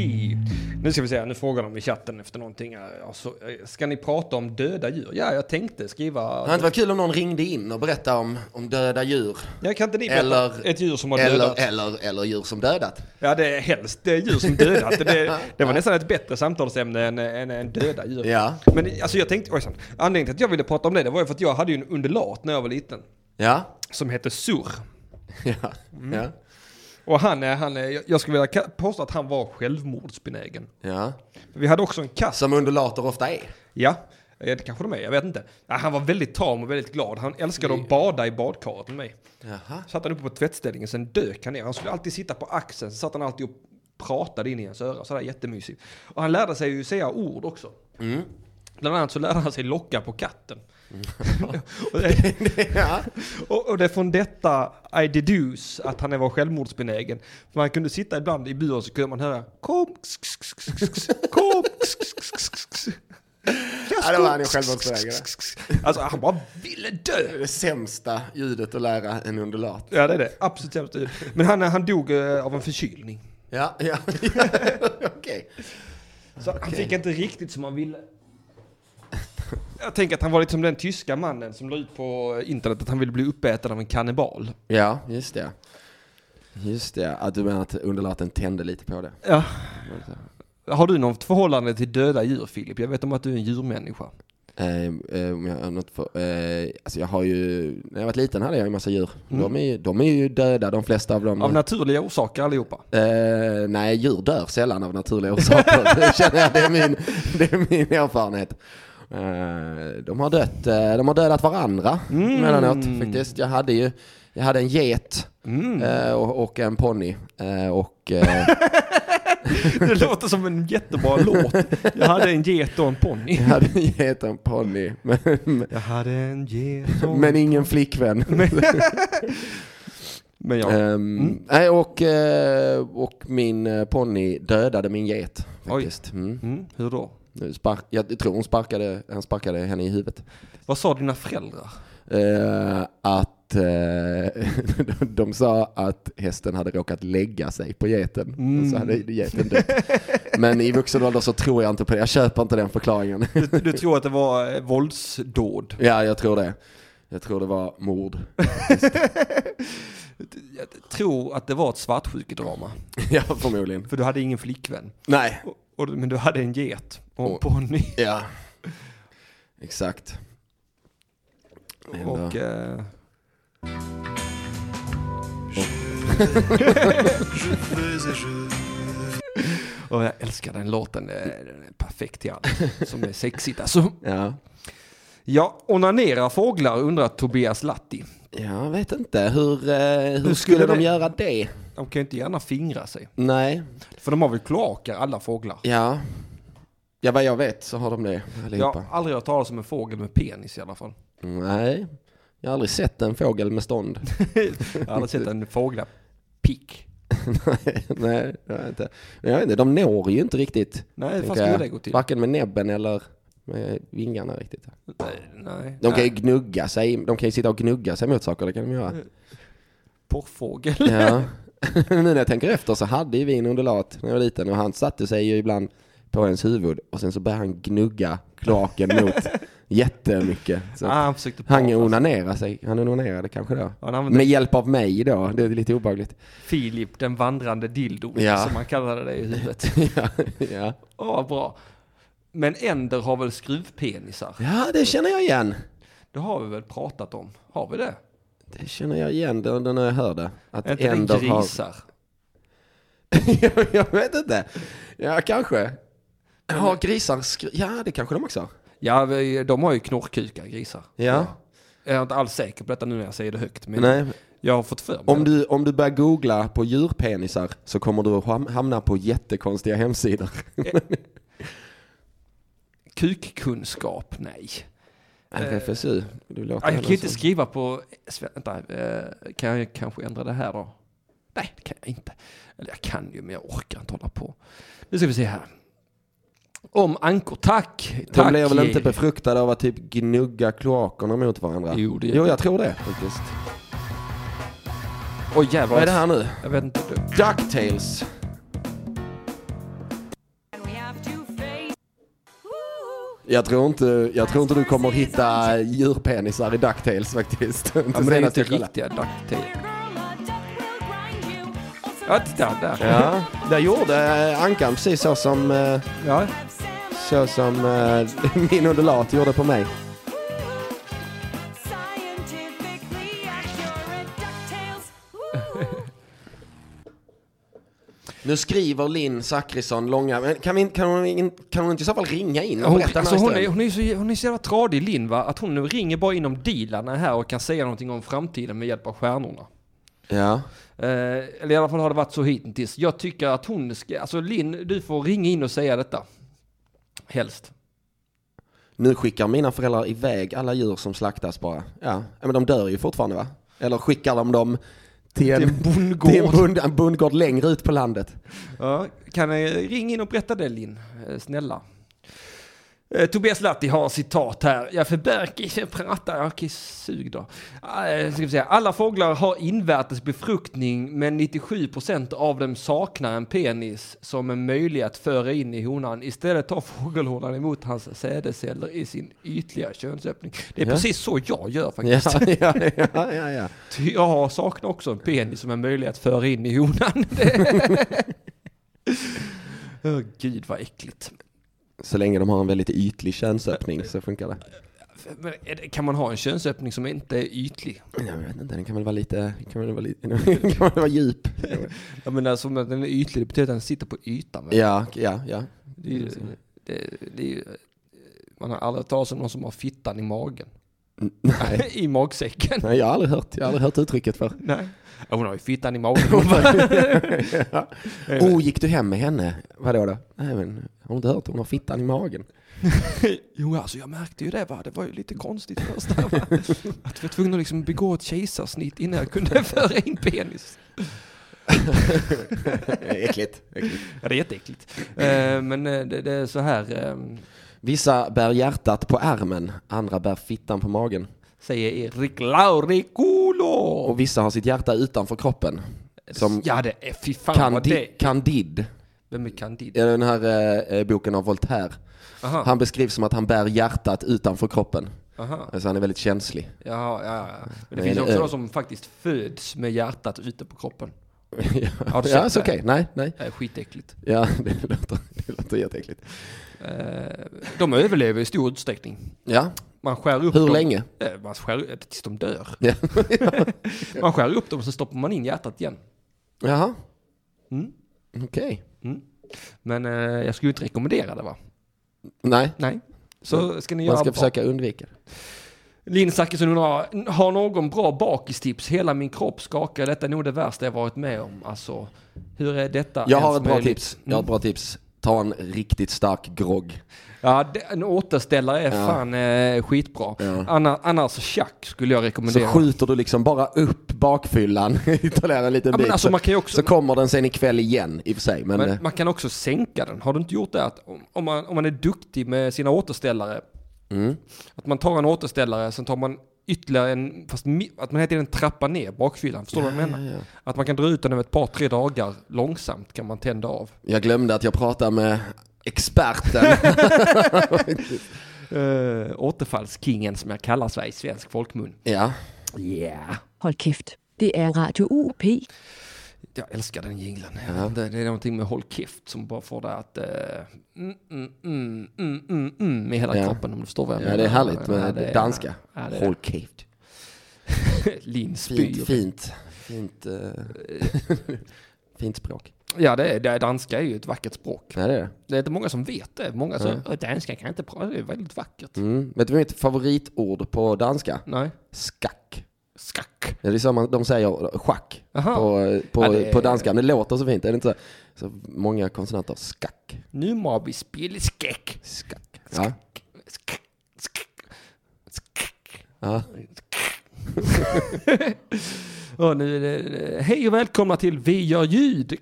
Speaker 1: Nu ska vi se, nu frågar de i chatten efter någonting. här. Alltså, eh, ska ni prata om döda djur? Ja, jag tänkte skriva...
Speaker 3: Det hade inte varit kul om någon ringde in och berättade om, om döda djur.
Speaker 1: Jag kan inte ni
Speaker 3: Eller-
Speaker 1: berätta ett djur som har
Speaker 3: Eller,
Speaker 1: dödat?
Speaker 3: eller, eller djur som dödat.
Speaker 1: Ja, det är helst det är djur som dödat. Det, det var nästan ett bättre samtalsämne än, än, än döda djur.
Speaker 3: Ja.
Speaker 1: Men alltså jag tänkte, ojsan, anledningen till att jag ville prata om det, det var ju för att jag hade ju en undulat när jag var liten.
Speaker 3: Ja. Mm.
Speaker 1: Som hette Sur.
Speaker 3: (laughs) Ja. Ja.
Speaker 1: Och han, är- han är- jag- jag skulle vilja ka- påstå att han var självmordsbenägen.
Speaker 3: ja.
Speaker 1: Vi hade också en katt.
Speaker 3: Som undulater ofta är.
Speaker 1: Ja, eh, det kanske de är, jag vet inte. Ja, han var väldigt tam och väldigt glad. Han älskade att bada i badkaret med mig.
Speaker 3: Jaha.
Speaker 1: Satt han uppe på tvättställningen, sen dök han ner. Han skulle alltid sitta på axeln, så satt han alltid och pratade in i ens öra. Sådär jättemysigt. Och han lärde sig ju säga ord också. Bland annat så lärde han sig locka på katten. (laughs) och, det,
Speaker 3: (laughs) Ja.
Speaker 1: och, och det är från detta I deduce att han var självmordsbenägen. För man kunde sitta ibland i buren så kunde man höra kom, kom,
Speaker 3: Ja, det var han ju självmordsbenägen.
Speaker 1: Alltså han bara ville dö.
Speaker 3: Det är det sämsta ljudet att lära en undulat.
Speaker 1: Ja det är det, absolut sämsta ljud. Men han, han dog eh, av en förkylning.
Speaker 3: Ja, ja. (laughs) Okej.
Speaker 1: Så han fick inte riktigt som han ville. Jag tänker att han var lite som den tyska mannen som la ut på internet att han ville bli uppäten av en kannibal.
Speaker 3: Ja, just det. Just det, att du menar att underlaten tände lite på det.
Speaker 1: Ja. Har du något förhållande till döda djur Filip? Jag vet om att du är en djurmänniska.
Speaker 3: Eh, eh, om jag, har något för, eh, alltså jag har ju, när jag var liten hade jag en massa djur. De, är ju, de är ju döda, de flesta av dem.
Speaker 1: Av naturliga orsaker allihopa.
Speaker 3: Eh, nej, djur dör sällan av naturliga orsaker. det känner jag, det är min, det är min erfarenhet. Eh, de, har dött, eh, de har dödat varandra emellanåt faktiskt. Jag hade ju, jag hade en get eh, och, och en ponny. Eh, och, eh,
Speaker 1: (laughs) Det låter som en (laughs) jättebra låt. Jag hade en get och en ponny.
Speaker 3: jag hade en get och en ponny. Men,
Speaker 1: Jag hade en get och...
Speaker 3: men ingen flickvän.
Speaker 1: Men jag...
Speaker 3: Ehm, nej, och, eh, och min eh, ponny dödade min get faktiskt. Mm.
Speaker 1: Mm, hur då?
Speaker 3: Nu Spark, jag tror hon sparkade, han sparkade henne i huvudet.
Speaker 1: Vad sa dina föräldrar?
Speaker 3: Eh, att eh, (laughs) de, de sa att hästen hade råkat lägga sig på geten. Och så hade geten dött. Men i vuxen ålder så tror jag inte på det. Jag köper inte den förklaringen. (laughs)
Speaker 1: Du, du tror att det var eh, våldsdåd?
Speaker 3: ja, jag tror det. Jag tror det var mord. (laughs)
Speaker 1: Jag tror att det var ett svartsjukedrama.
Speaker 3: ja, förmodligen.
Speaker 1: För du hade ingen flickvän.
Speaker 3: Nej.
Speaker 1: Och, och, men du hade en get och en
Speaker 3: Och-
Speaker 1: ponny.
Speaker 3: Ja. Exakt. Ändå.
Speaker 1: Och... Eh, (laughs) och jag älskar den låten. eh, Den är perfekt till allt som är sexigt. Alltså.
Speaker 3: Ja.
Speaker 1: Ja, onanerar fåglar undrar Tobias Latti.
Speaker 3: Jag vet inte. Hur, eh, hur,
Speaker 1: skulle
Speaker 3: skulle, de
Speaker 1: det-
Speaker 3: göra det?
Speaker 1: De kan ju inte gärna fingra sig.
Speaker 3: Nej.
Speaker 1: För de har väl kloaker alla fåglar?
Speaker 3: Ja. Ja, vad jag vet så har de det
Speaker 1: Jag
Speaker 3: allihopa.
Speaker 1: har aldrig hört talas om en fågel med penis i alla fall.
Speaker 3: Nej. Jag har aldrig sett en fågel med stånd. (laughs)
Speaker 1: Jag har aldrig sett en fågla pick.
Speaker 3: nej, nej, jag vet inte. Men jag vet inte. De når ju inte riktigt.
Speaker 1: Nej,
Speaker 3: tänker
Speaker 1: vad skulle
Speaker 3: jag.
Speaker 1: det gå till?
Speaker 3: Varken med näbben eller med vingarna riktigt.
Speaker 1: Nej, nej. Äh,
Speaker 3: De kan ju
Speaker 1: nej.
Speaker 3: gnugga sig. De kan ju sitta och gnugga sig mot saker. Det kan de göra.
Speaker 1: Porrfågel.
Speaker 3: (laughs) Ja. nu när jag tänker efter så hade ju vi en undulat när jag var liten och han satte sig ju ibland på ens huvud och sen så började han gnugga (laughs) kloaken mot jättemycket. Så
Speaker 1: Ah, han försökte
Speaker 3: han
Speaker 1: prata.
Speaker 3: onanerade sig, han onanerade kanske då.
Speaker 1: Han använde
Speaker 3: Med hjälp av mig då, det är lite obehagligt.
Speaker 1: Filip, den vandrande dildon,
Speaker 3: Ja.
Speaker 1: som man kallade det i
Speaker 3: (laughs)
Speaker 1: huvudet.
Speaker 3: (laughs) ja, ja.
Speaker 1: Åh, vad bra. Men änder har väl skruvpenisar?
Speaker 3: ja, det känner jag igen.
Speaker 1: Det har vi väl pratat om? Har vi det?
Speaker 3: Det känner jag igen det, det när jag hör det. Att
Speaker 1: Är inte det
Speaker 3: änder har... (laughs)
Speaker 1: grisar?
Speaker 3: jag vet inte. Ja, kanske. Har grisar skri... Ja, det kanske de också har.
Speaker 1: Ja, vi- de har ju knorrkukar, grisar.
Speaker 3: Ja.
Speaker 1: Jag är inte alls säker på detta nu när jag säger det högt, men
Speaker 3: Nej,
Speaker 1: jag har fått för mig.
Speaker 3: Om
Speaker 1: det.
Speaker 3: du, om du börjar googla på djurpenisar så kommer du att ham- hamna på jättekonstiga hemsidor.
Speaker 1: Kukkunskap, nej.
Speaker 3: RFSU, du låter
Speaker 1: Eh, Ja, jag kan ju inte
Speaker 3: som-
Speaker 1: skriva på... sve- Vänta, eh, kan jag kanske ändra det här då? Nej, det kan jag inte. Eller jag kan ju, men jag orkar inte hålla på. Nu ska vi se här. Om ankor, tack!
Speaker 3: De
Speaker 1: tack
Speaker 3: blir väl
Speaker 1: Jerry.
Speaker 3: inte befruktade av att typ gnugga kloakerna mot varandra?
Speaker 1: Jo, det-
Speaker 3: jo jag tror det faktiskt.
Speaker 1: Oj jävlar.
Speaker 3: Vad är det här nu?
Speaker 1: Jag vet inte.
Speaker 3: Ducktails. Jag tror, inte, jag tror inte du kommer hitta djurpenisar i Ducktails faktiskt.
Speaker 1: Ja, men det är
Speaker 3: Senast
Speaker 1: inte
Speaker 3: jag kollade.
Speaker 1: riktiga ducktail. Ja, titta där.
Speaker 3: Ja, där gjorde eh, Ankan precis så som... eh,
Speaker 1: Ja.
Speaker 3: Så som eh, (laughs) min undulat gjorde på mig. (laughs) Nu skriver Linn Zachrisson långa, men kan, vi, kan, hon, in- kan hon inte i så fall ringa in och
Speaker 1: Hon,
Speaker 3: berätta
Speaker 1: alltså, hon, är,
Speaker 3: historien?
Speaker 1: hon, är så, hon är så jävla tradig Linn va, att hon nu ringer bara inom dealarna här och kan säga någonting om framtiden med hjälp av stjärnorna.
Speaker 3: Ja,
Speaker 1: Eh, eller i alla fall har det varit så hittills. Jag tycker att hon ska, alltså Linn, du får ringa in och säga detta. Helst.
Speaker 3: Nu skickar mina föräldrar iväg alla djur som slaktas bara. Ja, ja, men de dör ju fortfarande va? Eller skickar de dem till en,
Speaker 1: Till en bondgård.
Speaker 3: till en bond, en bondgård längre ut på landet?
Speaker 1: Ja, kan eh, ring in och berätta det Linn, Eh, snälla. Eh, Tobias Latti har citat här. Jag förbörkis, (laughs) jag pratar, jag okej, sug då. Eh, ska vi säga. Alla fåglar har invärtes befruktning men 97% av dem saknar en penis som är möjlig att föra in i honan. Istället tar fågelhonan emot hans sädesceller i sin ytliga könsöppning. Det är
Speaker 3: Ja.
Speaker 1: precis så jag gör
Speaker 3: Ja,
Speaker 1: faktiskt.
Speaker 3: ja, ja, ja, ja.
Speaker 1: Ty- Jag saknar också en penis som är möjlig att föra in i (laughs) honan. Åh Gud vad äckligt.
Speaker 3: Så länge de har en väldigt ytlig könsöppning så funkar det.
Speaker 1: Men är det- Kan man ha en könsöppning som inte är ytlig?
Speaker 3: Jag vet inte, den kan väl vara lite, kan väl vara (laughs) lite, kan väl vara djup.
Speaker 1: Jag menar som att den är ytlig, det betyder att den sitter på ytan. väl?
Speaker 3: Ja, ja, ja.
Speaker 1: Det är ju, det, det är ju, man har aldrig hört talas om någon som har fittan i magen.
Speaker 3: Nej.
Speaker 1: (laughs) I magsäcken.
Speaker 3: Nej, jag har aldrig hört, jag har aldrig hört uttrycket för.
Speaker 1: Nej. Ja, (laughs) hon har ju fittan i magen.
Speaker 3: ja. Oh, gick du hem med henne? Vadå då? Nej men, har du inte hört? Hon har fittan i magen.
Speaker 1: Jo, alltså jag märkte ju det va. Det var ju lite konstigt först där (laughs) va. Att jag var tvungen att liksom begå ett kejsarsnitt innan jag kunde (laughs) föra in penis.
Speaker 3: Äckligt. äckligt.
Speaker 1: Ja, det är jätteäckligt. Eh, men eh, det, det är så här, eh,
Speaker 3: Vissa bär hjärtat på ärmen, andra bär fittan på magen.
Speaker 1: säger Erik Laurikulo.
Speaker 3: Och vissa har sitt hjärta utanför kroppen. Som
Speaker 1: Ja, det är fy fan vad det
Speaker 3: Candi- Candide,
Speaker 1: Vem är Candide?
Speaker 3: den här eh, eh, boken av Voltaire.
Speaker 1: Aha.
Speaker 3: Han beskrivs som att han bär hjärtat utanför kroppen.
Speaker 1: Aha.
Speaker 3: Alltså han är väldigt känslig.
Speaker 1: Jaha, ja, ja. Men det
Speaker 3: Nej,
Speaker 1: finns
Speaker 3: det-
Speaker 1: också de som faktiskt föds med hjärtat ute på kroppen.
Speaker 3: (laughs) ja,
Speaker 1: Har du sett
Speaker 3: ja alltså,
Speaker 1: det?
Speaker 3: okej. Nej, nej.
Speaker 1: Det är skitäckligt.
Speaker 3: Ja, (laughs) det låter, det låter jätteäckligt.
Speaker 1: Eh, de överlever i stor utsträckning.
Speaker 3: Ja,
Speaker 1: Man skär upp
Speaker 3: hur
Speaker 1: dem.
Speaker 3: länge?
Speaker 1: Eh, Man skär, eh, tills de dör.
Speaker 3: Ja.
Speaker 1: Man skär upp dem så stoppar man in hjärtat igen.
Speaker 3: Jaha,
Speaker 1: Mm.
Speaker 3: okej.
Speaker 1: Men eh, jag skulle ju inte rekommendera det va?
Speaker 3: Nej,
Speaker 1: Nej. Så ska ni göra
Speaker 3: man ska
Speaker 1: bra.
Speaker 3: försöka undvika det.
Speaker 1: Linn Zachrisson undrar, har någon bra bakistips? Hela min kropp skakar, detta är nog det värsta jag varit med om. Alltså, hur är detta
Speaker 3: Jag har
Speaker 1: ens
Speaker 3: ett bra
Speaker 1: möjligt?
Speaker 3: tips. Jag har ett bra tips. Ta en riktigt stark grogg.
Speaker 1: Ja, det- en återställare är fan eh, skitbra. Anna, annars tjack skulle jag
Speaker 3: Så
Speaker 1: rekommendera.
Speaker 3: skjuter du liksom bara upp bakfyllan (laughs) ytterligare en liten
Speaker 1: Ja, men
Speaker 3: bit.
Speaker 1: alltså,
Speaker 3: så,
Speaker 1: man kan ju också-
Speaker 3: så kommer den sen ikväll igen i och för sig. Men, eh,
Speaker 1: Men man kan också sänka den. Har du inte gjort det? Att om, om, man, om man är duktig med sina återställare.
Speaker 3: Mm.
Speaker 1: Att man tar en återställare, sen tar man ytterligare en, fast mi, att man hela tiden trappar ner bakfyllan. Förstår du vad jag menar? Att man kan dra ut den över ett par, tre dagar. Långsamt kan man tända av.
Speaker 3: jag glömde att jag pratade med
Speaker 1: (laughs)
Speaker 3: experten.
Speaker 1: Uh, återfallskingen som jag kallar sig i svensk folkmun.
Speaker 3: ja.
Speaker 1: Yeah.
Speaker 4: Hold kæft. Det er Radio UP.
Speaker 1: Jag älskar den jinglen. Det, det är någonting med håll käft som bara får det att... eh, mm, mm, mm, mm, mm, mm, i hela
Speaker 3: Ja.
Speaker 1: kroppen om du förstår vad jag
Speaker 3: ja,
Speaker 1: menar.
Speaker 3: det är härligt
Speaker 1: Ja,
Speaker 3: med
Speaker 1: det är-
Speaker 3: danska.
Speaker 1: Ja, det är-
Speaker 3: Håll
Speaker 1: (laughs)
Speaker 3: käft.
Speaker 1: Linn spyr.
Speaker 3: Fint, fint. Fint, eh,
Speaker 1: (laughs)
Speaker 3: fint språk.
Speaker 1: Ja, det är, det är, danska är ju ett vackert språk.
Speaker 3: Ja, det är det.
Speaker 1: Det är inte många som vet det. Många som "Åh, danska kan jag inte prata, det är väldigt vackert.
Speaker 3: Mm. Vet du vad mitt favoritord på danska?
Speaker 1: Nej.
Speaker 3: Skack.
Speaker 1: Skack.
Speaker 3: Ja, Det är så man, de säger schack
Speaker 1: Aha.
Speaker 3: på, eh, på,
Speaker 1: Ja, det är-
Speaker 3: på danska. Men det låter så fint, är det inte så? så många konsonanter. Skack.
Speaker 1: Nu må vi spela skäck.
Speaker 3: Skack. Ja.
Speaker 1: Skack. Skack. Skack.
Speaker 3: Ja.
Speaker 1: Och nu är det, eh, hej och välkomna till Vi gör ljud.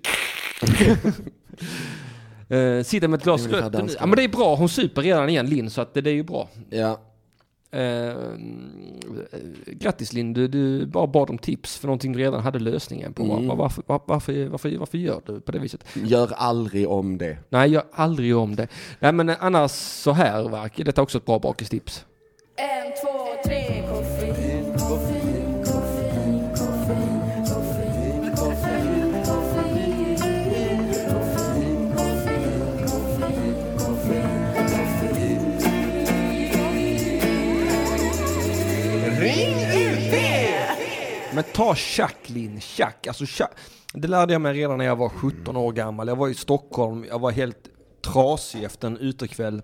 Speaker 1: Eh, Sitter med ett glas
Speaker 3: Det är ungefär
Speaker 1: rött.
Speaker 3: danska.
Speaker 1: Ja men det är bra, hon super redan igen Linn så att det, det är ju bra.
Speaker 3: ja.
Speaker 1: Eh, grattis Linn, du, du bara bad om tips för någonting du redan hade lösningen på. Var, varför, var, varför, varför, varför gör du på det viset?
Speaker 3: Gör aldrig om det.
Speaker 1: Nej, gör aldrig om det. Nej men eh, annars så här, va? detta är också ett bra bakistips.
Speaker 6: En, två, tre, koffein.
Speaker 1: Men ta Jacqueline, Jack. Alltså, Jack. Det lärde jag mig redan när jag
Speaker 3: Mm.
Speaker 1: var 17 år gammal. Jag var i Stockholm, jag var helt trasig efter en utekväll.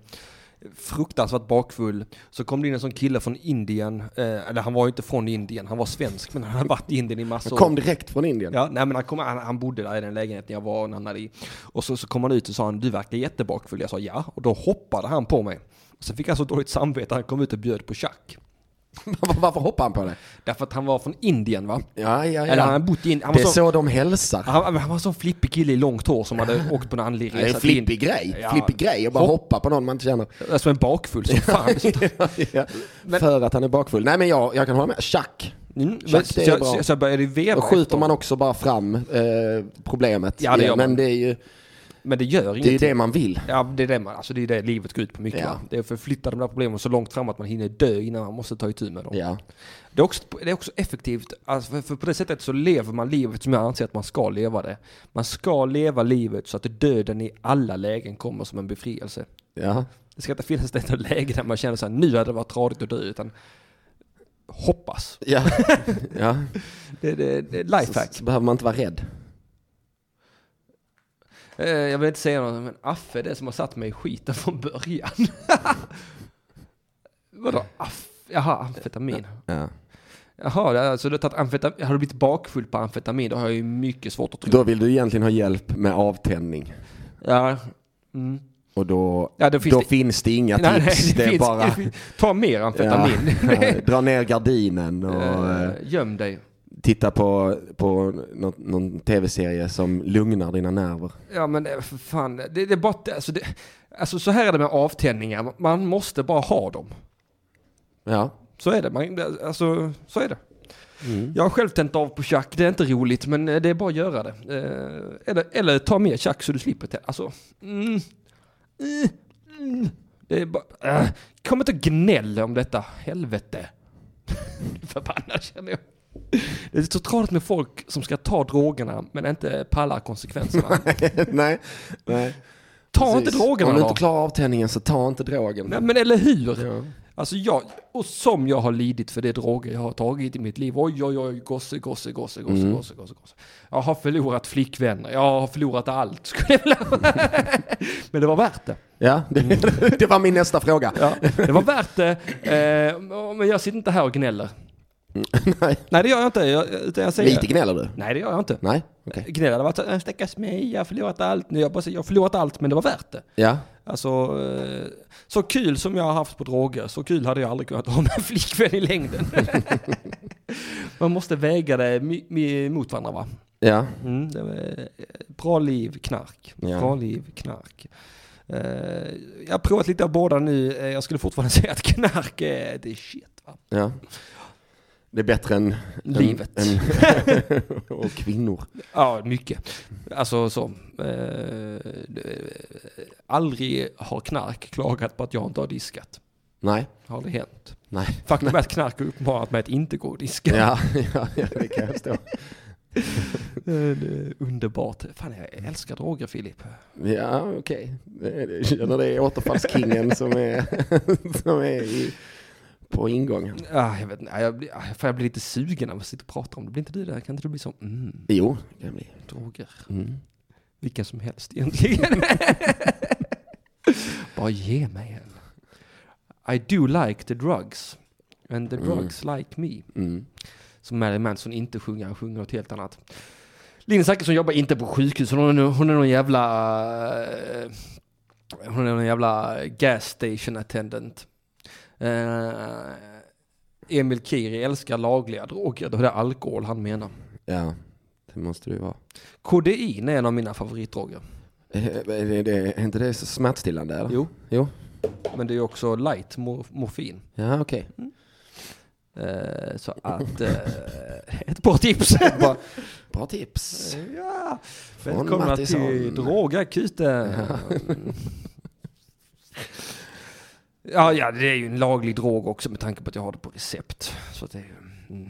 Speaker 1: Fruktansvärt bakfull. Så kom det in en sån kille från Indien. Eh, eller han var ju inte från Indien, han var svensk. Men han hade varit i Indien i massor.
Speaker 3: Kom direkt från Indien.
Speaker 1: Ja, nej, men han, kom, han, han bodde där i den lägenheten jag var och han hade i. Och så, så kom han ut och sa han, du verkar jättebakfull. Jag sa ja, och då hoppade han på mig. Sen fick han så dåligt samvete han kom ut och bjöd på tjack.
Speaker 3: (laughs) Varför hoppar han på det?
Speaker 1: Därför att han var från Indien va?
Speaker 3: Ja, ja, ja.
Speaker 1: Eller han hade bott i Indien. Han
Speaker 3: det är
Speaker 1: var
Speaker 3: så,
Speaker 1: så,
Speaker 3: de hälsar.
Speaker 1: han, han var så flippig kille i långt hår som hade åkt på en andlig
Speaker 3: det är en
Speaker 1: till Indien.
Speaker 3: flippig grej.
Speaker 1: Ja.
Speaker 3: Flippig grej att bara hoppa på någon man inte känner.
Speaker 1: Alltså en bakfull som fan.
Speaker 3: (laughs) ja. För att han är bakfull. Nej men jag, jag kan hålla med. Tjack.
Speaker 1: Mm,
Speaker 3: Tjack,
Speaker 1: men,
Speaker 3: det är
Speaker 1: så, jag,
Speaker 3: bra.
Speaker 1: så jag började veva.
Speaker 3: Då skjuter
Speaker 1: efter
Speaker 3: man
Speaker 1: honom.
Speaker 3: också bara fram eh, problemet.
Speaker 1: Ja, det gör
Speaker 3: igen. men
Speaker 1: man.
Speaker 3: det är ju
Speaker 1: Men det gör
Speaker 3: det, är ju
Speaker 1: ingenting.
Speaker 3: det man vill.
Speaker 1: Ja, det är det, man, alltså det, är det livet går ut på mycket.
Speaker 3: Ja.
Speaker 1: Va? Det är för att flytta de där problemen så långt fram att man hinner dö innan man måste ta itu med dem.
Speaker 3: Ja.
Speaker 1: Det, är också, det är också effektivt, alltså för, för på det sättet så lever man livet som jag anser att man ska leva det. Man ska leva livet så att döden i alla lägen kommer som en befrielse.
Speaker 3: Ja.
Speaker 1: Det ska inte finnas ett enda läge där man känner så här, nu hade det varit tradigt att dö, utan hoppas.
Speaker 3: Ja. (laughs) ja.
Speaker 1: Det, det, det är
Speaker 3: Så,
Speaker 1: lifehack.
Speaker 3: så behöver man inte vara rädd.
Speaker 1: Eh, Jag vill inte säga något, men Affe är det som har satt mig i skiten från början. (laughs) Vadå Affe? Jaha, amfetamin.
Speaker 3: Ja.
Speaker 1: Jaha, det är alltså du har, tagit amfetam- har du blivit bakfull på amfetamin, då har jag ju mycket svårt att tro.
Speaker 3: Då vill du egentligen ha hjälp med avtändning.
Speaker 1: Ja. Mm.
Speaker 3: Och då,
Speaker 1: Ja, då finns
Speaker 3: då
Speaker 1: det-
Speaker 3: finns det
Speaker 1: (laughs)
Speaker 3: inga
Speaker 1: Nej,
Speaker 3: tips.
Speaker 1: nej,
Speaker 3: det, är
Speaker 1: finns-
Speaker 3: bara...
Speaker 1: det finns- (laughs) Ta mer
Speaker 3: (laughs)
Speaker 1: amfetamin. (laughs)
Speaker 3: Ja. Dra ner gardinen och eh,
Speaker 1: Eh, Göm dig.
Speaker 3: titta på, på någon, någon tv-serie som lugnar dina nerver.
Speaker 1: Ja men eh, för fan, det, det är bara att- alltså, det, alltså så här är det med avtändningar, man måste bara ha dem.
Speaker 3: Ja.
Speaker 1: Så är det, man, det- alltså så är det. Jag har själv tänt av på tjack, det är inte roligt men eh, det är bara att göra det. Eh, Eller, eller ta mer tjack så du slipper det. Alltså, mm, eh, mm. Det är bara, eh, kom inte och gnäll om detta, helvete. (laughs) Förbannad känner jag. Det är så tradigt med folk som ska ta drogerna men inte pallar konsekvenserna.
Speaker 3: (laughs) nej. nej.
Speaker 1: Ta inte
Speaker 3: Precis.
Speaker 1: drogerna
Speaker 3: Om du
Speaker 1: då.
Speaker 3: inte klarar avtändningen så ta inte drogen.
Speaker 1: Nej men eller hur? Alltså jag, och som jag har lidit för det droger jag har tagit i mitt liv. Oj oj oj, gosse, gosse, gosse, gosse, gosse, gosse, gosse. Jag har förlorat flickvänner, jag har förlorat allt. skulle jag vilja- (laughs) men det var värt det.
Speaker 3: Ja, det, (laughs) det var min nästa fråga.
Speaker 1: Ja, det var värt det. Eh, men jag sitter inte här och gnäller.
Speaker 3: Nej.
Speaker 1: (laughs) Nej det gör jag inte. Jag, utan jag säger,
Speaker 3: Lite gnäller du?
Speaker 1: Nej det gör jag inte.
Speaker 3: Nej, okej.
Speaker 1: Gnäller hade varit så, "Äh, stackars mig, jag har förlorat allt. Nej, Jag, bara säger, jag har förlorat allt men det var värt det.
Speaker 3: Ja.
Speaker 1: Alltså, eh, så kul som jag har haft på droger, så kul hade jag aldrig kunnat ha med (laughs) en flickvän i längden. Man måste väga det mi- mi- mot varandra va?
Speaker 3: Ja.
Speaker 1: Mm, det var, eh, bra liv, knark.
Speaker 3: Ja.
Speaker 1: Bra liv, knark. Eh, jag har provat lite av båda nu, Eh, jag skulle fortfarande (laughs) säga att knark är det är shit va?
Speaker 3: ja. Det är bättre än... (laughs)
Speaker 1: Livet.
Speaker 3: Än, än, och kvinnor.
Speaker 1: Ja, mycket. Alltså så. Eh, det- aldrig har knark klagat på att jag inte har diskat.
Speaker 3: Nej.
Speaker 1: Har det hänt?
Speaker 3: Nej.
Speaker 1: Faktum är att knark har uppmanat mig att inte gå och diska.
Speaker 3: Ja, ja, ja, det kan jag förstå.
Speaker 1: Eh, (laughs) det är Underbart. Fan, jag älskar droger, Filip.
Speaker 3: Ja, okej. Okay. Jag känner det är återfallskingen som är, (laughs) som är i, på ingång.
Speaker 1: Ah, jag, vet, inte. jag, blir, ah, fan, jag blir lite sugen när man sitter och pratar om det. Blir inte du det? Kan inte du bli så? Mm,
Speaker 3: Jo, det kan bli.
Speaker 1: droger.
Speaker 3: Mm.
Speaker 1: Vilka som helst egentligen. (laughs) Bara ge mig en. I do like the drugs. And the
Speaker 3: Mm.
Speaker 1: drugs like me.
Speaker 3: Mm.
Speaker 1: Som Marilyn Manson inte sjunger. Han sjunger något helt annat. Linn Zachrisson jobbar inte på sjukhus. Hon är, hon är någon jävla... eh, Hon är någon jävla gas station attendant. Eh, Emil Kiri älskar lagliga droger. Då är det alkohol han menar.
Speaker 3: Ja, det måste det ju vara.
Speaker 1: Kodein är en av mina favoritdroger.
Speaker 3: Eh, Är, det- det- är inte det så smärtstillande? Eller?
Speaker 1: Jo.
Speaker 3: Jo.
Speaker 1: Men det är också light mor- morfin.
Speaker 3: Ja, okej.
Speaker 1: Eh, så att... Eh, (laughs) ett bra tips!
Speaker 3: Bra, bra tips.
Speaker 1: Eh. ja.
Speaker 3: Från
Speaker 1: Välkomna
Speaker 3: Mattisson.
Speaker 1: till Drogakuten! (laughs) ja, ja, det är ju en laglig drog också med tanke på att jag har det på recept. Så att det är ju... Mm.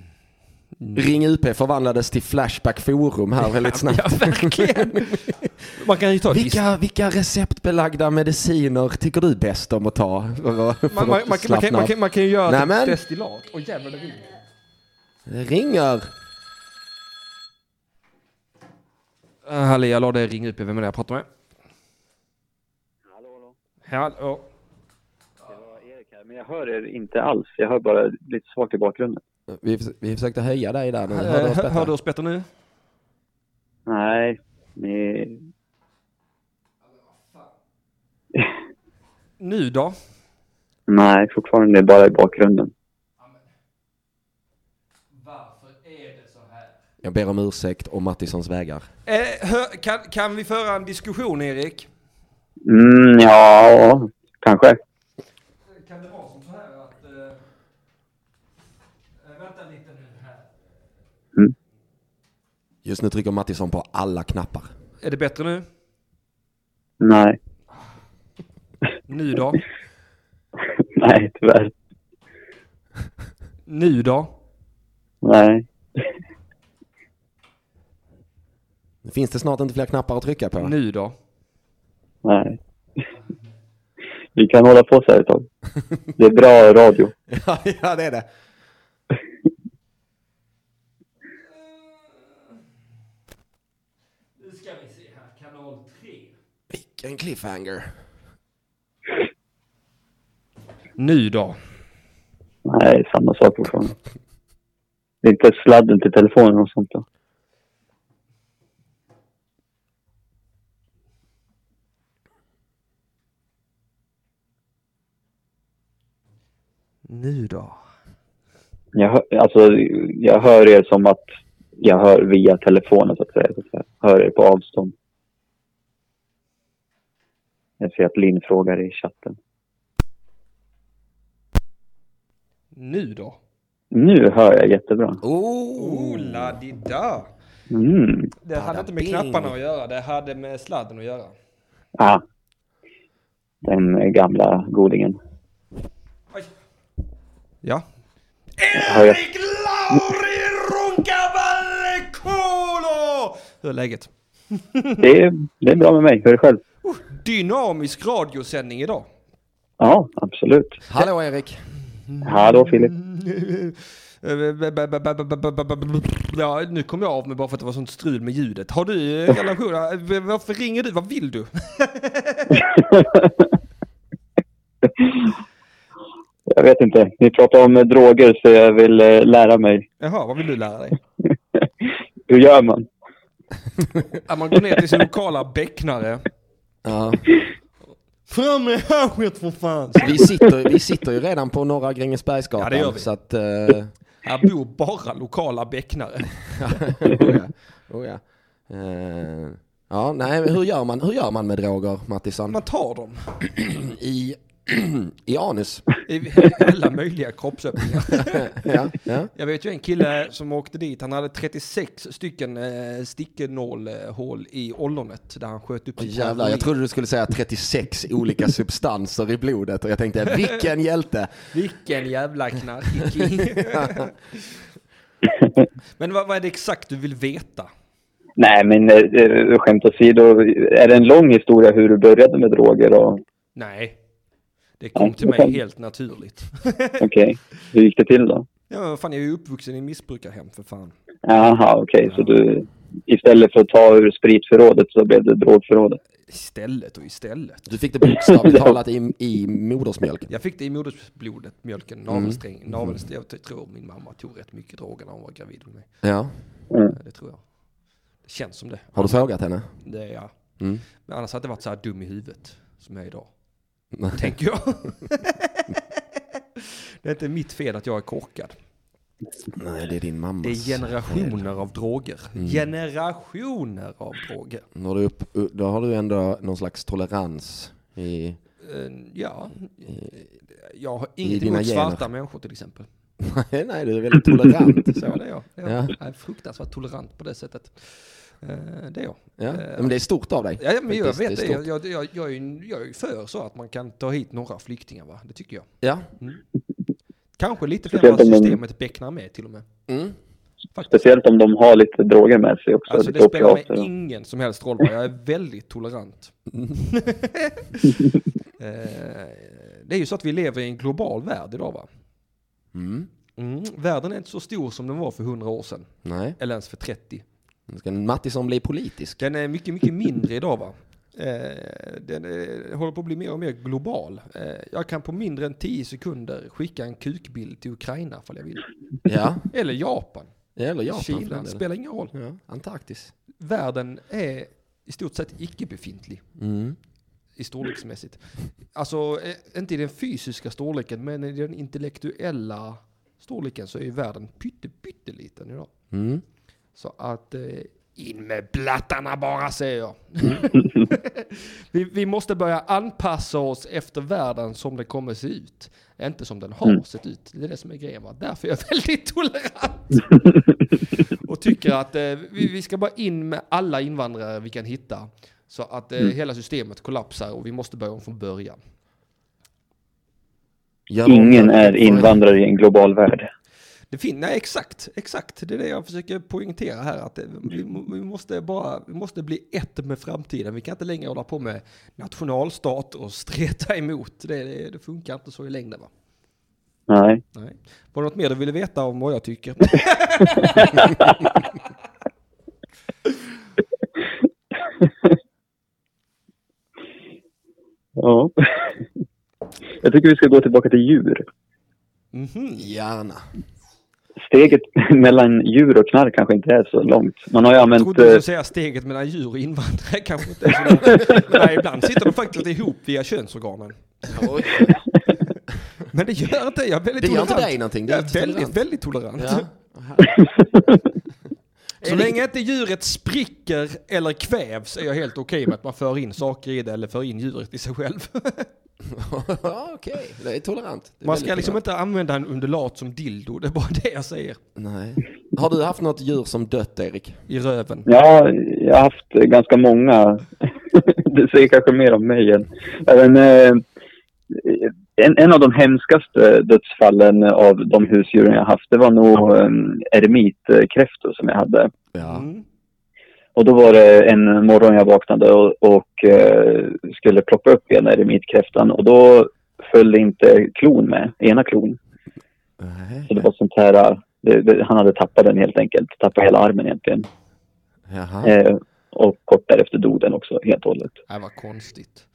Speaker 3: Ring UP förvandlades till Flashback Forum här
Speaker 1: (laughs)
Speaker 3: väldigt snabbt.
Speaker 1: Ja, verkligen! (laughs) Man kan ju ta list-
Speaker 3: Vilka, vilka receptbelagda mediciner tycker du bäst om att ta? (laughs) Förlåt,
Speaker 1: man, man, man, kan- man, kan, man,
Speaker 3: slappna
Speaker 1: kan, man kan ju göra
Speaker 3: Nej,
Speaker 1: ett
Speaker 3: men-
Speaker 1: destillat. Åh jävlar, det ringer.
Speaker 3: av. Eh, Ringer.
Speaker 1: Uh, Halle, jag la dig ring upp. Vem är det jag pratar med? Hallå, hallå. Hallå.
Speaker 7: Erik här, men jag hör er inte alls. Jag hör bara lite svagt i bakgrunden.
Speaker 3: Vi, förs- vi försökte höja dig där nu. Hörde
Speaker 1: Eh,
Speaker 3: oss
Speaker 1: hör,
Speaker 3: bättre?
Speaker 1: hör du oss bättre nu?
Speaker 7: Nej, ni...
Speaker 1: Nu då?
Speaker 7: Nej, fortfarande bara i bakgrunden.
Speaker 3: Jag ber om ursäkt om Mattissons vägar.
Speaker 1: Eh, hör, kan, kan vi föra en diskussion, Erik?
Speaker 7: Mm, ja, kanske.
Speaker 1: Kan det vara som så här att... eh, vänta lite nu här.
Speaker 3: Just nu trycker Mattisson på alla knappar.
Speaker 1: Är det bättre nu?
Speaker 7: Nej,
Speaker 1: Nu då?
Speaker 7: nej tyvärr.
Speaker 1: Nu då?
Speaker 7: Nej.
Speaker 3: Finns det snart inte fler knappar att trycka på?
Speaker 1: Nu då?
Speaker 7: Nej. (laughs) Vi kan hålla på så här ett tag. Det är bra radio.
Speaker 3: Ja, (laughs) ja, det är det.
Speaker 1: Nu ska vi se här, kanal 3.
Speaker 3: Vilken cliffhanger.
Speaker 1: Nu då?
Speaker 7: Nej, samma sak fortfarande. Det är inte sladden till telefonen och sånt då.
Speaker 1: Nu då?
Speaker 7: Jag hör, alltså, jag hör er som att jag hör via telefonen så att säga. Så att säga. Hör er på avstånd. Jag ser att Linn frågar i chatten.
Speaker 1: Nu då?
Speaker 7: Nu hör jag jättebra.
Speaker 3: Oh,
Speaker 1: Oh, la di da.
Speaker 7: Mm.
Speaker 1: Det hade inte med
Speaker 3: Bada bing.
Speaker 1: knapparna att göra, det hade med sladden att göra.
Speaker 7: Ah. Den gamla godingen.
Speaker 1: Ja.
Speaker 7: Hör jag...
Speaker 1: Lauri Runkaballe Kolo! Hur är läget?
Speaker 7: det, är, det är bra med mig. Hör själv.
Speaker 1: Dynamisk radiosändning (laughs) idag.
Speaker 7: Ja, absolut.
Speaker 3: Hallå Erik.
Speaker 7: Hallå Filip. (laughs)
Speaker 1: Ja, nu kom jag av mig bara för att det var sånt strul med ljudet. Har du eh, relation? eh, Varför ringer du? Vad vill du?
Speaker 7: Jag vet inte. Ni pratar om eh, droger så jag vill eh, lära mig.
Speaker 1: Jaha, vad vill du lära dig?
Speaker 7: Hur gör man?
Speaker 1: Att man går ner till sin lokala bäcknare.
Speaker 3: Ja.
Speaker 1: Fram med haschet för fan!
Speaker 3: Vi, sitter, vi sitter ju redan på Norra Grängesbergsgatan.
Speaker 1: Ja, det gör vi.
Speaker 3: Så att, eh, (laughs)
Speaker 1: Här bor bara lokala bäcknare.
Speaker 3: oh ja. Oh ja. Eh, ja, nej, men hur gör man, hur gör man med droger, Mattisson?
Speaker 1: Man tar dem
Speaker 3: I, (clears throat) I anus?
Speaker 1: i alla möjliga kroppsöppningar.
Speaker 3: ja, ja.
Speaker 1: Jag vet ju en kille som åkte dit, han hade 36 stycken eh, stickenålhål i ollonet där han sköt upp
Speaker 3: Åh,
Speaker 1: sitt
Speaker 3: Jävlar, jag
Speaker 1: heroin.
Speaker 3: trodde du skulle säga 36 olika substanser i blodet och jag tänkte vilken hjälte.
Speaker 1: Vilken jävla knarkig
Speaker 3: (laughs)
Speaker 1: king. Men vad, vad är det exakt du vill veta?
Speaker 7: Nej, men eh, eh, skämt åsido. Är det en lång historia hur du började med droger?
Speaker 1: (laughs)
Speaker 7: Och...
Speaker 1: Nej, det kom till mig helt naturligt. (laughs)
Speaker 7: Okej, hur gick det till då?
Speaker 1: Ja, men vad fan, jag är ju uppvuxen i missbrukarhem för fan.
Speaker 7: Jaha, okej. Så du, istället för att ta ur spritförrådet så blev det drogförrådet?
Speaker 1: Istället och istället.
Speaker 3: Du fick det bokstavligt talat i, i modersmjölken.
Speaker 1: Jag fick det i modersblodet, mjölken,
Speaker 3: Mm.
Speaker 1: navelsträng, navelsträng. Jag t- tror min mamma tog rätt mycket droger när hon var gravid med mig.
Speaker 3: Ja.
Speaker 1: Det tror jag. Det känns som det.
Speaker 3: Har du frågat henne?
Speaker 1: Det är jag.
Speaker 3: Mm.
Speaker 1: Men annars hade jag varit så här dum i huvudet som jag är idag. Tänker jag. det är inte mitt fel att jag är korkad.
Speaker 3: Nej, det är din mammas.
Speaker 1: Det är generationer av droger. Generationer av droger.
Speaker 3: Då har, du upp, då har du ändå någon slags tolerans i...
Speaker 1: Eh, Ja, jag har inget
Speaker 3: dina
Speaker 1: emot svarta
Speaker 3: gener.
Speaker 1: människor till exempel.
Speaker 3: Nej, (laughs) nej, du är väldigt tolerant.
Speaker 1: Så det är jag. Det är jag.
Speaker 3: Ja.
Speaker 1: jag är fruktansvärt tolerant på det sättet. Eh, Det är jag.
Speaker 3: Ja. Men det är stort av dig.
Speaker 1: Ja, ja, men jag
Speaker 3: Faktiskt,
Speaker 1: vet det.
Speaker 3: är
Speaker 1: Jag,
Speaker 3: stort.
Speaker 1: jag, jag, jag, är ju, jag är ju för så att man kan ta hit några flyktingar, va? Det tycker jag.
Speaker 3: Ja.
Speaker 1: Kanske lite fler än
Speaker 7: Speciellt
Speaker 1: vad
Speaker 7: om de-
Speaker 1: systemet becknar med till och med.
Speaker 3: Mm.
Speaker 1: Faktiskt.
Speaker 7: Speciellt om de har lite droger med sig också.
Speaker 1: Alltså
Speaker 7: lite
Speaker 1: det spelar mig
Speaker 7: opiater och-
Speaker 1: ingen som helst roll. va? Jag är väldigt tolerant. Eh, det är ju så att vi lever i en global värld idag va?
Speaker 3: Mm.
Speaker 1: Mm. Världen är inte så stor som den var för 100 år sedan.
Speaker 3: Nej.
Speaker 1: Eller ens för 30.
Speaker 3: Nu ska Mattisson bli politisk.
Speaker 1: Den är mycket, mycket mindre idag va? Eh, Den eh, håller på att bli mer och mer global. Eh, Jag kan på mindre än 10 sekunder skicka en kukbild till Ukraina ifall jag vill.
Speaker 3: Ja.
Speaker 1: Eller Japan,
Speaker 3: Eller Japan. för
Speaker 1: Kina,
Speaker 3: den delen.
Speaker 1: spelar ingen roll.
Speaker 3: Ja. Antarktis.
Speaker 1: Världen är i stort sett icke-befintlig.
Speaker 3: Mm.
Speaker 1: i storleksmässigt. Alltså, eh, inte i den fysiska storleken, men i den intellektuella storleken så är ju världen pytte, pytteliten idag.
Speaker 3: Mm.
Speaker 1: Så att eh, in med blattarna bara säger jag. vi, vi måste börja anpassa oss efter världen som den kommer se ut. Inte som den har sett ut. Det är det som är grejen. Va? Därför är jag (laughs) väldigt tolerant. (laughs) Och tycker att eh, vi, vi ska bara in med alla invandrare vi kan hitta. Så att eh, hela systemet kollapsar och vi måste börja om från början.
Speaker 3: Gör
Speaker 7: Ingen
Speaker 3: om-
Speaker 7: är invandrare i en global värld.
Speaker 1: Det fin- Nej, exakt, exakt. Det är det jag försöker poängtera här. Att eh, vi, må- vi, måste bara, vi måste bli ett med framtiden. Vi kan inte längre hålla på med nationalstat och (laughs) streta emot. Det, det, det funkar inte så i längden. Va?
Speaker 7: Nej.
Speaker 1: Nej. Var det något mer du ville veta om vad jag tycker?
Speaker 7: Ja. (laughs) Jag tycker vi ska gå tillbaka till djur.
Speaker 1: Mhm.
Speaker 3: Gärna.
Speaker 7: Steget (laughs) mellan djur och knark kanske inte är så långt. Man har ju
Speaker 1: Jag
Speaker 7: använt...
Speaker 1: trodde du skulle
Speaker 7: eh,
Speaker 1: säga steget mellan djur och invandrare (laughs) kanske inte. är så långt. Nej, ibland sitter de faktiskt ihop via könsorganen.
Speaker 3: Oj.
Speaker 1: Men det gör inte jag. är Väldigt
Speaker 3: Det gör inte
Speaker 1: tolerant.
Speaker 3: dig någonting. Det
Speaker 1: Jag
Speaker 3: är
Speaker 1: är väldigt,
Speaker 3: jättetolerant.
Speaker 1: väldigt tolerant.
Speaker 3: Ja. (laughs)
Speaker 1: Så länge inte djuret spricker eller kvävs är jag helt okej med att man för in saker i det eller för in djuret i sig själv.
Speaker 3: Ja, Okej, det är tolerant. Det är
Speaker 1: Man ska
Speaker 3: väldigt
Speaker 1: liksom
Speaker 3: tolerant.
Speaker 1: inte använda en undulat som dildo, det är bara det jag säger.
Speaker 3: Nej. Har du haft något djur som dött, Erik?
Speaker 1: I röven.
Speaker 7: Ja, jag har haft ganska många. (laughs) Det säger kanske mer om mig än... Även, eh, en, en av de hemskaste dödsfallen av de husdjuren jag haft, det var nog eh, eremitkräftor som jag hade.
Speaker 3: Ja.
Speaker 1: Mm.
Speaker 7: Och då var det en morgon jag vaknade och, och eh, skulle plocka upp ena eremitkräftan och då följde inte klon med, ena klon.
Speaker 3: Nej.
Speaker 7: Så det var sånt här, eh, det, det, han hade tappat den helt enkelt, tappat hela armen egentligen.
Speaker 3: Jaha.
Speaker 7: Eh, och kort därefter dog den också helt och hållet.
Speaker 1: Det var konstigt.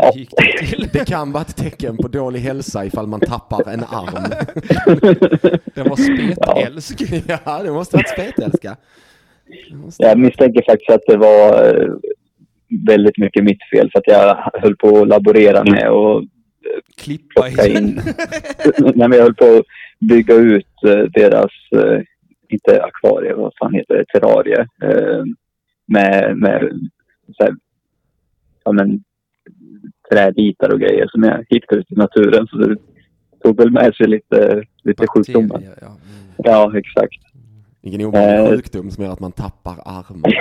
Speaker 7: Ja.
Speaker 1: Hur gick det till?
Speaker 3: Det kan vara ett tecken på dålig hälsa ifall man tappar en
Speaker 1: (laughs)
Speaker 3: arm.
Speaker 1: Den var spetälsk.
Speaker 3: (laughs) Ja, det måste vara ett spetälska. Det måste-
Speaker 7: Jag misstänker faktiskt att det var eh, väldigt mycket mitt fel för att jag höll på att laborera med och
Speaker 1: Klippa i
Speaker 7: plocka
Speaker 1: den.
Speaker 7: in. (laughs) Nej, men jag höll på att bygga ut eh, deras, eh, inte akvarie, vad fan heter det, terrarie. Eh, med med så här, ja, men, träbitar och grejer som jag hittade ute i naturen. Så det tog väl med sig lite, lite sjukdomar.
Speaker 1: Bakterier, ja. Mm.
Speaker 7: Ja, exakt.
Speaker 3: Vilken obehaglig
Speaker 7: Eh.
Speaker 3: sjukdom som gör att man tappar armar.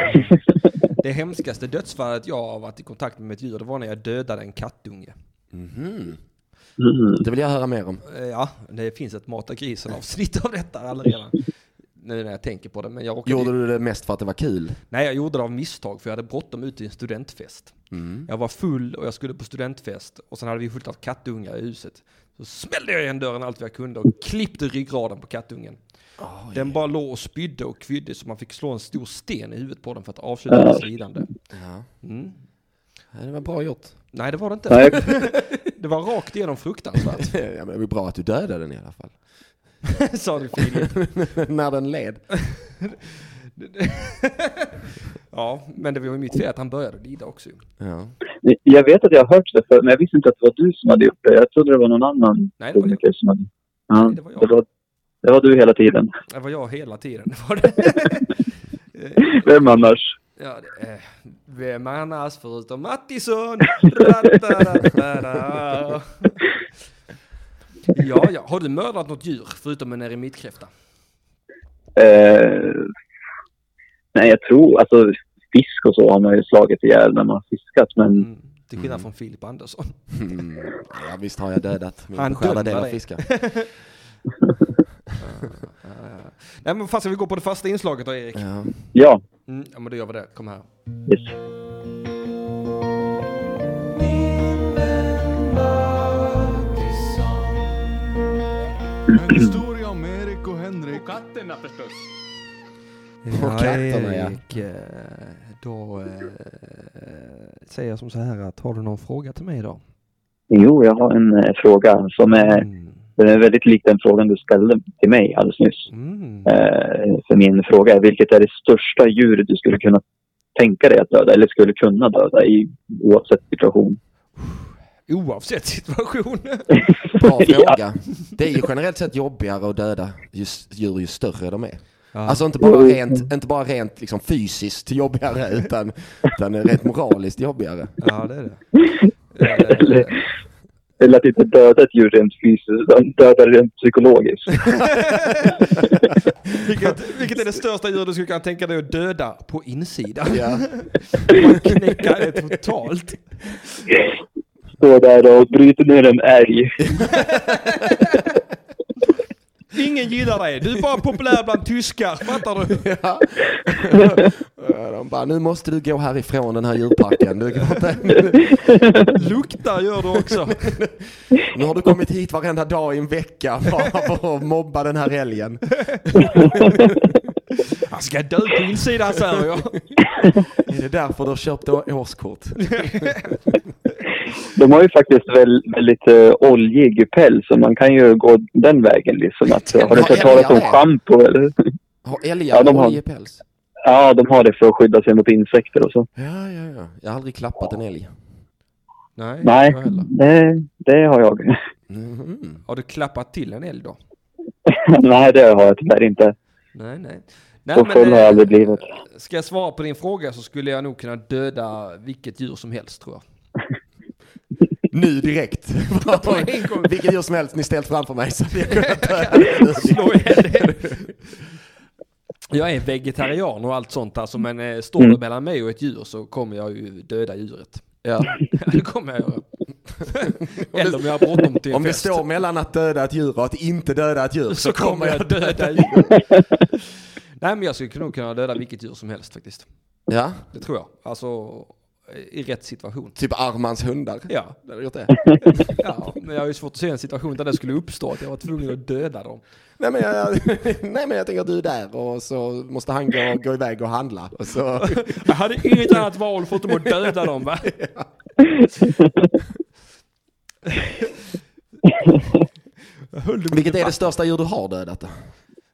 Speaker 1: Det hemskaste dödsfallet jag har varit i kontakt med ett djur, det var när jag dödade en kattunge.
Speaker 3: Mhm.
Speaker 7: Mm.
Speaker 3: Det vill jag höra mer om.
Speaker 1: Eh, Ja, det finns ett Mata grisen avsnitt av detta redan. Nu när jag tänker på det. Men jag råkade
Speaker 3: Gjorde du det mest för att det var kul?
Speaker 1: Nej, jag gjorde det av misstag för jag hade bråttom ut till en studentfest. Jag var full och jag skulle på studentfest och sen hade vi fullt av kattungar i huset. Så smällde jag igen dörren allt vad jag kunde och klippte ryggraden på kattungen. Den bara låg och spydde och kvydde så man fick slå en stor sten i huvudet på den för att avsluta dess lidande.
Speaker 3: Ja.
Speaker 1: Mm.
Speaker 3: Ja, Det var bra gjort.
Speaker 1: Nej, det var det inte.
Speaker 7: Nej.
Speaker 1: Det var rakt igenom fruktansvärt,
Speaker 3: (laughs) Ja, men det var bra att du dödade den i alla fall.
Speaker 1: (laughs) sa du Filip.
Speaker 3: (laughs) När den led.
Speaker 1: (laughs) Ja, men det var ju mitt fel att han började lida också.
Speaker 3: Ja.
Speaker 7: Jag vet att jag har hört det förut, men jag visste inte att det var du som hade gjort det. Jag trodde det var någon annan
Speaker 1: Nej, det var jag.
Speaker 7: komiker som hade... Ja,
Speaker 1: Nej, det
Speaker 7: det,
Speaker 1: var
Speaker 7: var
Speaker 1: jag.
Speaker 7: det var du hela tiden. (laughs)
Speaker 1: Det var jag hela tiden. (laughs) Det var det.
Speaker 7: Vem annars?
Speaker 1: Ja, det är, vem annars förutom Mattisson? Ra-ta-ra-ta-ra. Ja, ja. Har du mördat något djur förutom en eremitkräfta?
Speaker 7: Eh, nej, jag tror... Alltså, fisk och så har man ju slagit ihjäl när man har fiskat, men...
Speaker 1: Mm. Till skillnad från Filip Andersson.
Speaker 3: Mm. ja, visst har jag dödat min
Speaker 1: Han
Speaker 3: beskärda
Speaker 1: dödade
Speaker 3: del av
Speaker 1: dig.
Speaker 3: (laughs) fiskar.
Speaker 1: Nej, men fast ska vi gå på det fasta inslaget då, Erik?
Speaker 3: Ja.
Speaker 7: Ja,
Speaker 1: Mm, ja, men då gör vi det. Kom här.
Speaker 7: yes.
Speaker 8: En historia om Erik och Henrik. Och katterna förstås.
Speaker 3: Och katterna, ja.
Speaker 1: Erik, eh, då eh, säger jag som så här att har du någon fråga till mig idag?
Speaker 7: Jo, jag har en eh, fråga som är,
Speaker 1: Mm.
Speaker 7: den är väldigt lik den frågan du ställde till mig alldeles nyss.
Speaker 1: Mm.
Speaker 7: Eh, för min fråga är, vilket är det största djuret du skulle kunna tänka dig att döda, eller skulle kunna döda i oavsett situation?
Speaker 1: Oavsett (laughs) situation.
Speaker 3: Bra fråga. Det är ju generellt sett jobbigare att döda ju, s- djur ju större de är. Alltså inte bara rent, inte bara rent liksom fysiskt jobbigare utan, utan rent moraliskt jobbigare.
Speaker 5: Ja, det
Speaker 7: (laughs)
Speaker 5: är det.
Speaker 1: Eh,
Speaker 7: Eller, eller att inte döda ett djur rent fysiskt, utan döda det rent psykologiskt.
Speaker 1: vilket, vilket är det största djur du skulle kunna tänka dig att döda på insidan?
Speaker 3: (laughs) Ja.
Speaker 1: Knäcka det totalt.
Speaker 7: Stå där och bryta ner en älg.
Speaker 1: (laughs) Ingen gillar dig. Du är bara populär bland tyskar. Fattar du?
Speaker 3: Ja. De bara, nu måste du gå härifrån den här djurparken. Du kan inte,
Speaker 1: Lukta gör du (laughs) också.
Speaker 3: nu har du kommit hit varenda dag i en vecka bara
Speaker 1: (laughs)
Speaker 3: för att mobba den här älgen.
Speaker 1: Han ska dö på insidan säger jag.
Speaker 3: Är det därför du har köpt å- årskort?
Speaker 7: De har ju faktiskt väl, väldigt eh, oljig päls, så man kan ju gå den vägen liksom. Att, har du hört talas om schampo eller? (laughs)
Speaker 3: Har älgar
Speaker 7: Ja, de har-
Speaker 3: oljig päls?
Speaker 7: Ja, de har det för att skydda sig mot insekter och så.
Speaker 3: Ja, ja, ja. Jag har aldrig klappat en älg.
Speaker 1: Nej.
Speaker 7: Nej,
Speaker 3: jag heller.
Speaker 7: det, det har jag. (laughs)
Speaker 3: Mhm.
Speaker 1: Har du klappat till en eld då?
Speaker 7: Nej, det har jag tyvärr inte.
Speaker 1: Nej, nej. nej
Speaker 7: Så full har jag
Speaker 1: eh,
Speaker 7: aldrig blivit.
Speaker 1: Ska jag svara på din fråga så skulle jag nog kunna döda vilket djur som helst tror jag. (laughs)
Speaker 3: Nu direkt.
Speaker 1: På en gång.
Speaker 3: Vilket djur som helst ni ställt framför mig
Speaker 1: (laughs)
Speaker 3: så hade jag kunnat döda det.
Speaker 1: Slå ihjäl det. Jag är vegetarian och allt sånt alltså men eh, står det
Speaker 7: Mm.
Speaker 1: mellan mig och ett djur så kommer jag ju döda djuret. (laughs)
Speaker 3: Ja.
Speaker 1: det kommer jag (laughs) göra. Eller Mm. om jag har bråttom till en
Speaker 3: Om det
Speaker 1: fest.
Speaker 3: står mellan att döda ett djur och att inte döda ett
Speaker 1: (laughs)
Speaker 3: djur
Speaker 1: så kommer jag döda
Speaker 3: djuret.
Speaker 1: djuret. (laughs) Nej men jag skulle nog kunna döda vilket djur som helst faktiskt.
Speaker 3: Ja,
Speaker 1: Det tror jag. Alltså i rätt situation.
Speaker 3: typ Armans hundar.
Speaker 1: Ja,
Speaker 3: Det hade
Speaker 1: (laughs)
Speaker 3: gjort det.
Speaker 1: ja, men jag har ju svårt att se en situation där det skulle uppstå att jag var tvungen att döda dem.
Speaker 3: Nej men, jag, (laughs) nej men jag tänker att du är där och så måste han gå, gå iväg och handla. Och så,
Speaker 1: Jag hade inget annat val förutom att döda dem va? Höll du
Speaker 3: vilket är det största djur du har dödat? då?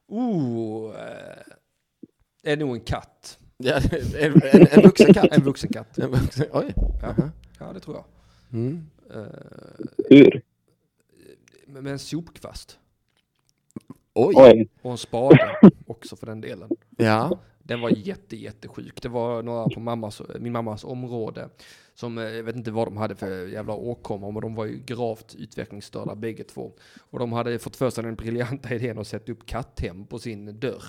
Speaker 1: Oh, eh, är nog en katt.
Speaker 3: (laughs) Ja, en, en, en vuxen katt?
Speaker 1: En vuxen katt.
Speaker 3: (laughs) En vuxen, oj.
Speaker 1: Ja, ja det tror jag.
Speaker 3: Mm.
Speaker 7: Ur.
Speaker 1: Med med en sopkvast.
Speaker 3: Oj.
Speaker 7: Oj. (laughs)
Speaker 1: Och en spade också för den delen.
Speaker 3: Ja. (laughs)
Speaker 1: Den var jätte, jättesjuk. Det var några på mammas, min mammas område som, eh, jag vet inte vad de hade för jävla åkommor, men de var ju gravt utvecklingsstörda bägge två. Och de hade fått för sig den briljanta idén att sätta upp katthem på sin dörr.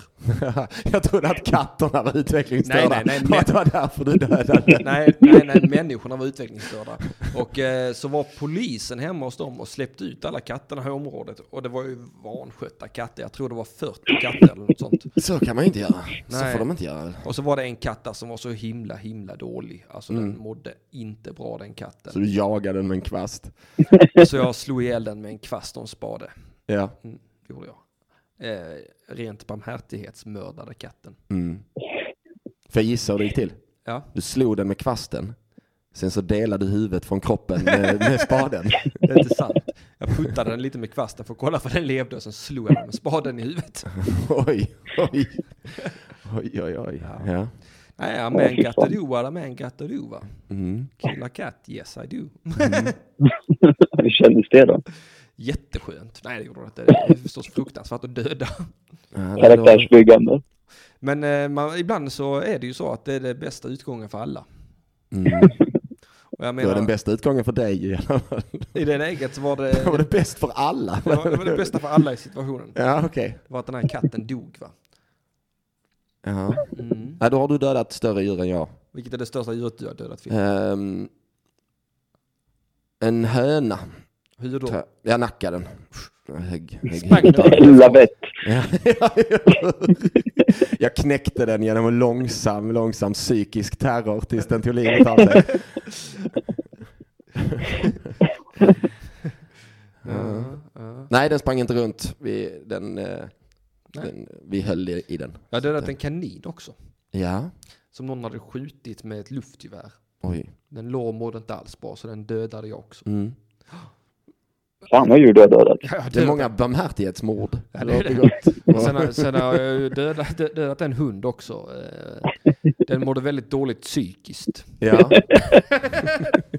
Speaker 3: Jag trodde att katterna var utvecklingsstörda.
Speaker 1: Nej,
Speaker 3: (laughs)
Speaker 1: nej, nej,
Speaker 3: Och att det var därför du dödade.
Speaker 1: Nej, nej, nej, människorna var utvecklingsstörda. Och eh, så var polisen hemma hos dem och släppte ut alla katterna i området. Och det var ju vanskötta katter, jag tror det var 40 katter eller något sånt.
Speaker 3: (laughs) Så kan man ju inte göra. Så
Speaker 1: Nej.
Speaker 3: får de inte göra.
Speaker 1: Och så var det en katt där som var så himla, himla dålig. Alltså den mådde inte bra den katten.
Speaker 3: Så du jagade den med en kvast.
Speaker 1: Så jag slog ihjäl den med en kvast och en spade.
Speaker 3: Ja.
Speaker 1: Mm, det gjorde jag. Eh, rent barmhärtighetsmördade katten.
Speaker 3: Mm. För jag gissa hur det gick till.
Speaker 1: Ja,
Speaker 3: Du slog den med kvasten. Sen så delade du huvudet från kroppen med, (laughs) med spaden.
Speaker 1: det är inte sant. Jag puttade den lite med kvasten för att kolla för den levde och sen slog jag den med spaden i huvudet.
Speaker 3: Oj, oj. Oj, oj, oj. Ja.
Speaker 1: Nej, I'm man got to do what a man got to do va?
Speaker 3: Mm.
Speaker 1: Kill a cat, yes I do.
Speaker 7: Hur kändes det då?
Speaker 1: Jätteskönt. Nej, det gjorde det inte. Det är förstås fruktansvärt att döda.
Speaker 3: Ja, det-
Speaker 7: Karaktärsbyggande.
Speaker 1: Men eh, man, ibland så är det ju så att det är den bästa utgången för alla.
Speaker 3: Mm.
Speaker 1: Och jag
Speaker 3: Det var den
Speaker 1: menar,
Speaker 3: bästa utgången för
Speaker 1: (laughs)
Speaker 3: dig i alla fall.
Speaker 1: i det läget så var
Speaker 3: (laughs)
Speaker 1: det,
Speaker 3: Det var det bäst för alla.
Speaker 1: det, var, det var det bästa för alla i situationen.
Speaker 3: Ja, okej.
Speaker 1: var att den här katten dog va?
Speaker 3: Ja. Ja, då har du dödat större djur än jag.
Speaker 1: Vilket är det största djuret du har dödat Finn?
Speaker 3: Ehm, en höna.
Speaker 1: Hur
Speaker 3: tror jag.
Speaker 1: då?
Speaker 3: Jag nackade den. Jag Högg, högg
Speaker 1: Smack.
Speaker 3: huvudet av den.
Speaker 7: Lavett.
Speaker 3: (laughs) Ja, ja, ja. Jag knäckte den genom en långsam, långsam psykisk terror tills den tog livet av sig.
Speaker 1: Ja, ja.
Speaker 3: Nej, den sprang inte runt. Vi, den, eh,
Speaker 1: Nej.
Speaker 3: den, vi höll i, i den.
Speaker 1: Jag har dödat en kanin också.
Speaker 3: Ja,
Speaker 1: Som någon hade skjutit med ett luftgevär.
Speaker 3: oj.
Speaker 1: Den låg och mådde inte alls bra så den dödade jag också.
Speaker 3: Mm.
Speaker 7: Fan vad djur du har dödat.
Speaker 1: Jag har
Speaker 3: Det är
Speaker 1: dödat-
Speaker 3: många barmhärtighetsmord.
Speaker 1: Ja, det är det. Och Sen, har- sen har jag ju dödat, dö- dödat en hund också. Eh, Den mådde väldigt dåligt psykiskt.
Speaker 3: Ja.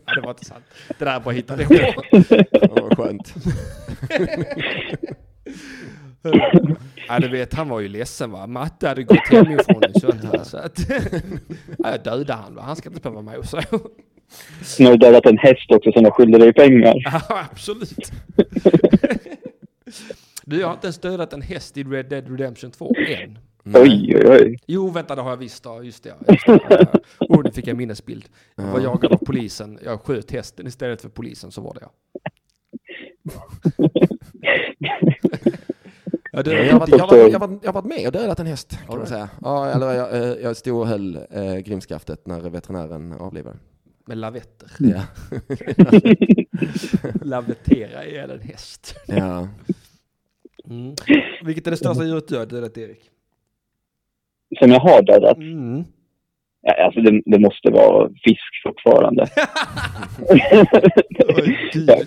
Speaker 1: Ja, det var inte sant. Det där bara hittade jag på.
Speaker 3: Ja, vad skönt.
Speaker 1: Ja, du vet, han var ju ledsen va. Matte hade gått hemifrån en söndag. Så att, ja, jag dödade han va. Han ska inte behöva mig och så.
Speaker 7: Nu har du dödat en häst också som de skyllde dig pengar.
Speaker 1: Ja, absolut. Du, jag har inte ens dödat en häst i Red Dead Redemption 2 än.
Speaker 7: Oj, oj, oj.
Speaker 1: Jo, vänta, det har jag visst. Ja, just det. ja, Just det. Ja. Oh, nu fick jag en minnesbild. Jag var jagad av polisen. Jag sköt hästen istället för polisen, så var det jag. Ja, du,
Speaker 3: Jag har varit, jag har varit, jag har varit, jag har varit med och dödat en häst kan man säga. Ja, eller jag, eh, jag stod och höll eh, grimskaftet när veterinären avlivade.
Speaker 1: med lavetter.
Speaker 3: Ja.
Speaker 1: Lavettera ihjäl en häst.
Speaker 3: ja.
Speaker 1: Mm. Vilket är det största djuret du har dödat, Erik?
Speaker 7: Som jag har dödat.
Speaker 1: Mm.
Speaker 7: Ja, Alltså det, det måste vara fisk
Speaker 1: (laughs)
Speaker 7: fortfarande.
Speaker 1: Oj, du.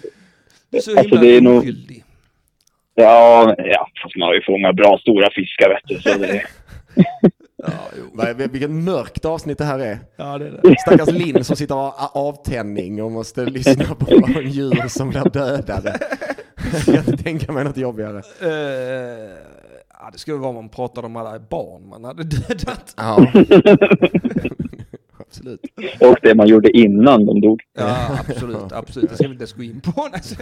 Speaker 1: Du är så himla
Speaker 7: Alltså, det är nog-
Speaker 1: oskyldig.
Speaker 7: ja, ja, fast man har ju fångat bra stora fiskar vet du. Så det,
Speaker 3: Vad- Vilket mörkt avsnitt det här är.
Speaker 1: Ja, det är
Speaker 7: (laughs)
Speaker 1: det.
Speaker 3: Stackars Linn som sitter och har avtändning och måste lyssna på (laughs) djur som blir dödade. Jag kan inte tänka mig något jobbigare.
Speaker 1: Eh, ja, det skulle vara om man pratade om alla barn man hade dödat.
Speaker 3: Ja. (laughs) Absolut.
Speaker 7: och det man gjorde innan de dog.
Speaker 1: Ja, absolut, absolut. Det ska vi inte ens gå in
Speaker 7: (laughs)
Speaker 1: på. Alltså.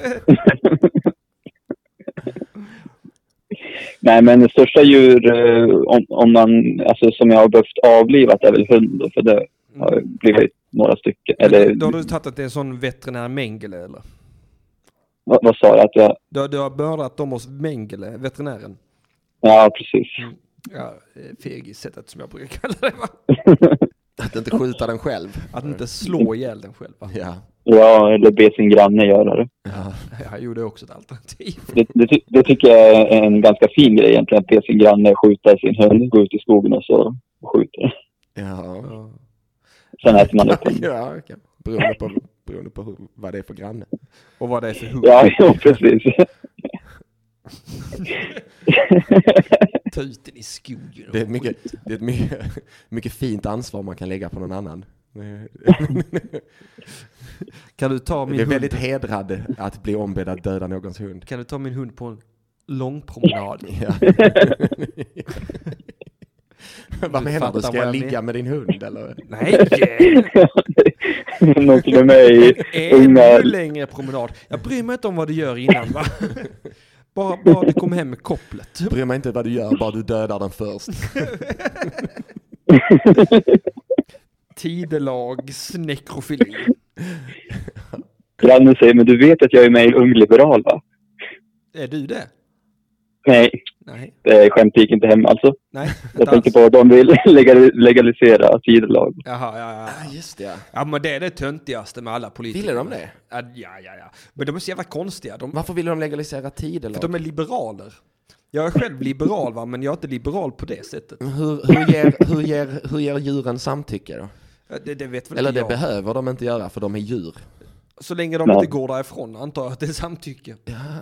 Speaker 7: Nej, men det största djur eh, om, om man, alltså, som jag har behövt avlivat är väl hund. För det har blivit några stycken. Eller
Speaker 1: Mm. Då har du tagit att det är en sån veterinär Mengele, eller?
Speaker 7: vad, vad sa jag? Att jag
Speaker 1: Du, har- du har mördat dem hos Mengele, veterinären.
Speaker 7: ja, precis.
Speaker 1: Mm. Ja, eh, fegis-sättet som jag brukar kalla det, va?
Speaker 3: Att inte skjuta den själv.
Speaker 1: Att inte
Speaker 3: Mm.
Speaker 1: slå ihjäl den själv, va?
Speaker 3: Ja.
Speaker 7: Ja, eller be sin granne göra det.
Speaker 3: ja.
Speaker 1: (laughs) Jag gjorde också ett alternativ.
Speaker 7: Det, det, ty- det tycker jag är en ganska fin grej egentligen. Att be sin granne skjuta sin hund, gå ut i skogen och så skjuter den.
Speaker 3: Ja.
Speaker 7: Sen äter man
Speaker 3: (laughs)
Speaker 7: upp den.
Speaker 3: ja okej. beroende, på, beroende på hur, vad det är för granne.
Speaker 1: Och vad det är för hund.
Speaker 7: Ja, ja precis. (laughs)
Speaker 1: Ta ut den i skogen.
Speaker 3: Det är, ett mycket, det är ett mycket, (laughs) mycket fint ansvar man kan lägga på någon annan.
Speaker 1: (laughs) Kan du ta min
Speaker 3: Jag är
Speaker 1: hund?
Speaker 3: väldigt hedrad att bli ombedd att döda
Speaker 1: (laughs)
Speaker 3: någons hund.
Speaker 1: Kan du ta min hund på en lång promenad?
Speaker 3: Ja.
Speaker 1: (laughs)
Speaker 3: Vad menar
Speaker 1: fattar
Speaker 3: du? Ska
Speaker 1: vad
Speaker 3: jag
Speaker 1: jag
Speaker 3: ligga med din hund eller?
Speaker 1: Nej!
Speaker 3: (laughs)
Speaker 7: Någon som är med
Speaker 1: (laughs)
Speaker 7: i unga...
Speaker 1: Ännu längre promenad. Jag bryr mig inte om vad du gör innan va? (laughs) Bara, bara du kom hem med kopplet.
Speaker 3: Bryr mig inte vad du gör, bara du dödar
Speaker 1: (laughs)
Speaker 3: den först.
Speaker 1: Tidelags nekrofili.
Speaker 7: Grannen säger, men du vet att jag är med i Ung Liberal va?
Speaker 1: Är du det?
Speaker 7: Nej,
Speaker 1: Nej.
Speaker 7: det skämtet gick inte hem alltså.
Speaker 1: Nej,
Speaker 7: Jag tänkte på att de vill (laughs) legal- legalisera tidelag.
Speaker 1: Jaha, ja, ja.
Speaker 3: just det ja.
Speaker 1: ja, men det är det töntigaste med alla politiker.
Speaker 3: Ville de det?
Speaker 1: Ja, ja, ja. Men de är så jävla konstiga. De,
Speaker 3: Varför ville de legalisera tidelag?
Speaker 1: de är liberaler. Jag är själv liberal va, men jag är inte liberal på det sättet.
Speaker 3: Hur, hur, ger, hur, ger, hur ger djuren samtycke då?
Speaker 1: Ja, Det, det vet väl
Speaker 3: Eller
Speaker 1: inte
Speaker 3: det
Speaker 1: jag.
Speaker 3: behöver de inte göra för de är djur.
Speaker 1: Så länge de
Speaker 7: Nej.
Speaker 1: inte går därifrån antar jag att det är samtycke. Det-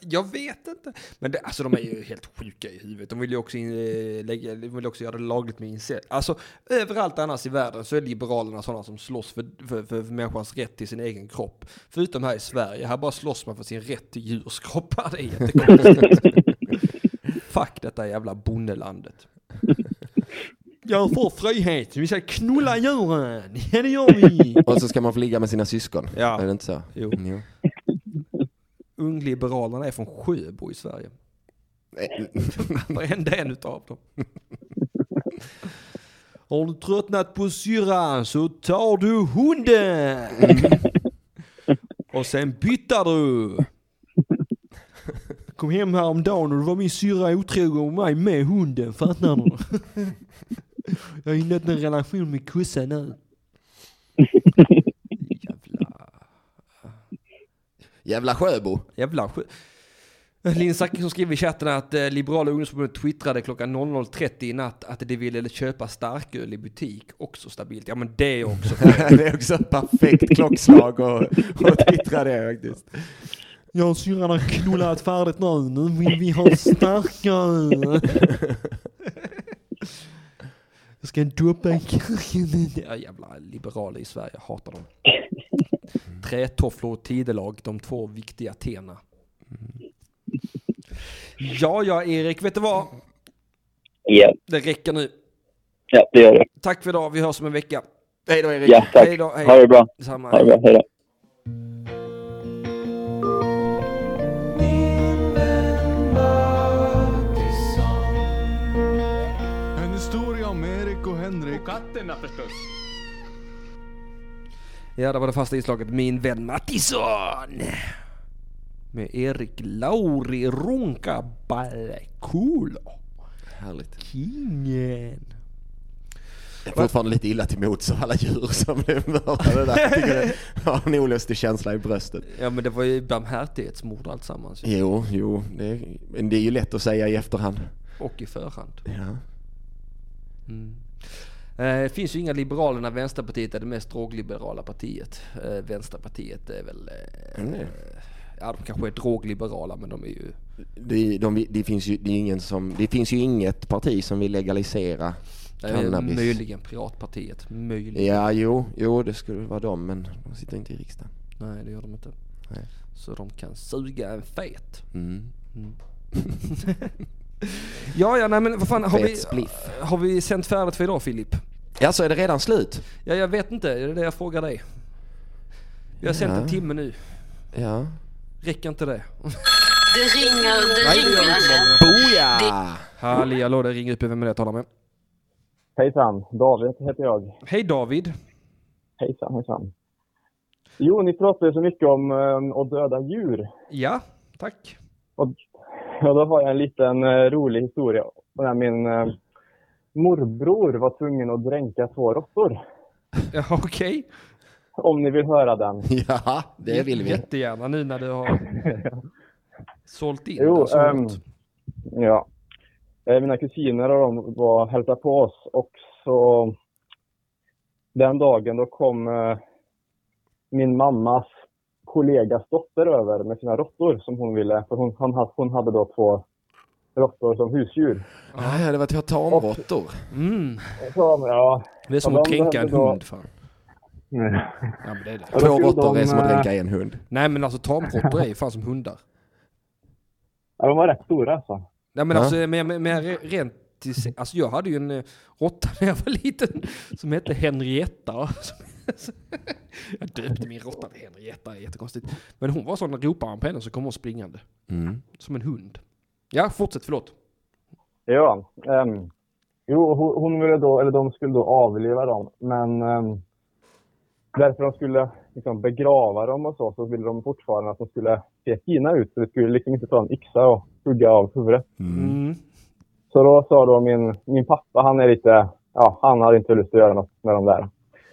Speaker 1: Jag vet inte. Men det, alltså de är ju helt sjuka i huvudet. De vill ju också, in, eh, lägga, de vill också göra det lagligt med incest. Alltså överallt annars i världen så är liberalerna sådana som slåss för, för, för människans rätt till sin egen kropp. Förutom här i Sverige, här bara slåss man för sin rätt till djurs kroppar. Det är jättekonstigt. Fuck detta jävla bondelandet. Jag får frihet, vi ska knulla djuren! Ja det gör vi!
Speaker 3: Och så ska man få ligga med sina syskon.
Speaker 1: Ja.
Speaker 3: Är det inte så?
Speaker 1: Jo.
Speaker 3: jo.
Speaker 1: Ungliberalerna är från Sjöbo i Sverige. (laughs)
Speaker 3: Nej.
Speaker 1: Varenda en utav dem. (laughs) Har du tröttnat på syrran så tar du (laughs) hunden! Och sen byttar du! (laughs) Kom hem häromdagen och då var min syrra otrogen med mig med hunden, fattar du? (laughs) Jag har inlett en relation med kossan (laughs) nu. Jävla...
Speaker 3: Jävla Sjöbo.
Speaker 1: Jävla skit. Linn Zachrisson skriver i chatten att eh, Liberala ungdomsförbundet twittrade klockan 00.30 i natt att de ville köpa starköl i butik. Också stabilt. Ja men det är också
Speaker 3: (laughs) det är också ett perfekt klockslag och, och twittra det faktiskt.
Speaker 1: (laughs) Jag och syrran har knullat färdigt nu. (laughs) Nu vill vi ha starköl. Jag ska droppa kirken. Ja, jävla liberaler i Sverige, jag hatar dem. Trätofflor och tidelag, de två viktiga tena. Mm. Ja, ja, Erik, vet du vad?
Speaker 7: Ja,
Speaker 1: Det räcker nu.
Speaker 7: ja det gör det.
Speaker 1: Tack för idag, vi hörs om en vecka.
Speaker 3: Hej då Erik.
Speaker 7: Ja, tack.
Speaker 1: Hej då, hej.
Speaker 7: Ha det bra.
Speaker 1: Samma.
Speaker 7: Ha det bra. Hej då.
Speaker 8: En historia om Erik och Henrik. Och katterna förstås.
Speaker 1: Ja, det var det fasta inslaget Min vän Mattisson! Med Erik Lauri Runkaballe Cool.
Speaker 3: Härligt.
Speaker 1: Kingen.
Speaker 3: Jag är fortfarande lite illa till mots av alla djur som blev mördade där. Jag tycker det har en olustig känsla i bröstet.
Speaker 1: Ja men det var ju barmhärtighetsmord alltsammans ju.
Speaker 3: Jo, jo. Det är, men det är ju lätt att säga i efterhand.
Speaker 1: Och i förhand. Mm.
Speaker 3: Ja.
Speaker 1: Eh, Det finns ju inga liberaler när Vänsterpartiet är det mest drogliberala partiet. Eh, Vänsterpartiet är väl... eh,
Speaker 3: Mm.
Speaker 1: Ja de kanske är drogliberala men de är ju...
Speaker 3: Det, de, det, finns ju, det, är ingen som, det finns ju inget parti som vill legalisera
Speaker 1: det är
Speaker 3: cannabis.
Speaker 1: Möjligen Piratpartiet. Möjligen.
Speaker 3: Ja, jo, jo, det skulle vara dem, men de sitter inte i riksdagen.
Speaker 1: Nej det gör de inte.
Speaker 3: Nej.
Speaker 1: Så de kan suga en fet.
Speaker 3: Mm.
Speaker 1: Ja, ja, nej men vad fan har
Speaker 3: Fet
Speaker 1: vi,
Speaker 3: spliff.
Speaker 1: har vi sänt färdigt för idag Filip?
Speaker 3: Ja, så är det redan slut?
Speaker 1: Ja, jag vet inte, det är det jag frågar dig. Vi har sänt en
Speaker 3: Ja.
Speaker 1: timme nu,
Speaker 3: Ja.
Speaker 1: räcker inte det?
Speaker 9: Det ringer, det ringer.
Speaker 3: Boja!
Speaker 1: Halli hallå, det ringer upp, vem är det jag talar med?
Speaker 10: Hejsan, David heter jag.
Speaker 1: Hej David!
Speaker 10: Hejsan, hejsan. Jo, ni pratade så mycket om eh, att döda djur. (laughs)
Speaker 1: Ja, tack.
Speaker 10: Och, och då har jag en liten eh, rolig historia. När min eh, morbror var tvungen att dränka två råttor.
Speaker 1: Ja, Okej,
Speaker 10: Om ni vill höra den.
Speaker 3: Ja, det vill vi.
Speaker 1: jättegärna nu när du har sålt in.
Speaker 10: Jo,
Speaker 1: och sålt.
Speaker 10: ehm, ja. Eh, Mina kusiner och de var och hälsade på oss och så den dagen då kom eh, min mammas kollegas dotter över med sina råttor som hon ville, för hon, hon, ha- hon hade då två råttor som husdjur.
Speaker 3: Ja, ja, det var två tamråttor.
Speaker 1: mm.
Speaker 10: Så, ja,
Speaker 1: Det är som
Speaker 10: Ja,
Speaker 1: att
Speaker 10: de
Speaker 1: kränka en
Speaker 10: behövde då-
Speaker 1: hund fan.
Speaker 10: Mm.
Speaker 1: Ja, men det är det.
Speaker 10: Och då
Speaker 3: Två
Speaker 10: skulle
Speaker 3: råttor
Speaker 10: de,
Speaker 3: är som att
Speaker 10: eh,
Speaker 3: dränka en hund.
Speaker 1: Nej men alltså tamråttor är ju fan som hundar.
Speaker 10: ja, de var rätt stora alltså.
Speaker 1: Nej men
Speaker 3: Ja.
Speaker 1: alltså, men, men, men re- rent till, se- alltså jag hade ju en eh, råtta när jag var liten som hette Henrietta. (laughs) Som- Jag döpte min råtta till Henrietta, det är jättekonstigt. Men hon var sån, ropade man på henne så kom hon springande.
Speaker 3: Mm.
Speaker 1: Som en hund. Ja, fortsätt, förlåt.
Speaker 10: Ja. ehm, jo, hon, hon ville då, eller de skulle då avliva dem, men um, därför de skulle liksom begrava dem och så, så ville de fortfarande att de skulle se fina ut. Så det skulle liksom inte ta en yxa och hugga av huvudet.
Speaker 1: Mm.
Speaker 10: Så då sa då min, min pappa, han är lite, ja, han hade inte lust att göra något med dem där.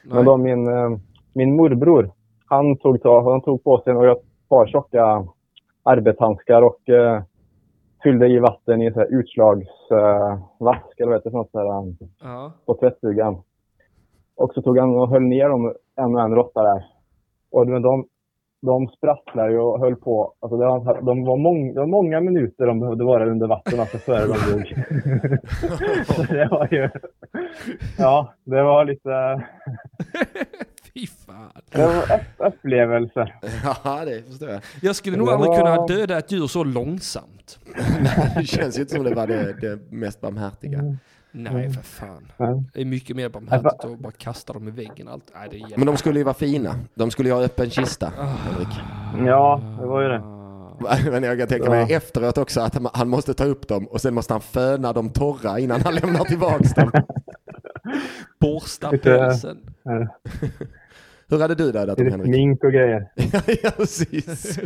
Speaker 10: Men då min, eh, min morbror, han tog, ta- han tog på sig några par tjocka arbetshandskar och eh, fyllde i vatten i så här utslagsvask eller vad heter det, sånt där, eh,
Speaker 1: Ja.
Speaker 10: på tvättstugan. Och så tog han och höll ner dem, en och en råtta där. Och de, de, de sprattlade ju och höll på. Alltså det var, de var mång, det var många minuter de behövde vara under vatten alltså före de dog. (laughs) så det var ju... Ja, det var lite...
Speaker 1: Fy fan.
Speaker 10: Det var upp- upplevelser.
Speaker 3: (laughs) Ja, det förstår jag.
Speaker 1: Jag skulle nog
Speaker 10: Det
Speaker 1: aldrig
Speaker 10: var-
Speaker 1: kunna döda ett djur så långsamt.
Speaker 3: Det känns ju inte som det var det, det mest
Speaker 10: Mm.
Speaker 3: barmhärtiga.
Speaker 1: Nej, för fan.
Speaker 10: Ja. Alltså-
Speaker 1: Det är mycket mer barmhärtigt att bara kasta dem i väggen. Allt. Nej, det är jävla...
Speaker 3: Men de skulle ju vara fina. De skulle ju ha öppen kista, Henrik. (laughs)
Speaker 10: Ja, det var ju det.
Speaker 3: Ah. Men jag kan tänka mig efteråt också att han- han måste ta upp dem och sen måste han föna dem torra innan han lämnar tillbaks dem.
Speaker 1: Borsta
Speaker 10: Lite-
Speaker 1: pälsen.
Speaker 3: Hur hade du dödat dem
Speaker 10: Lite
Speaker 3: Henrik?
Speaker 10: smink och grejer.
Speaker 3: (laughs) ja, precis.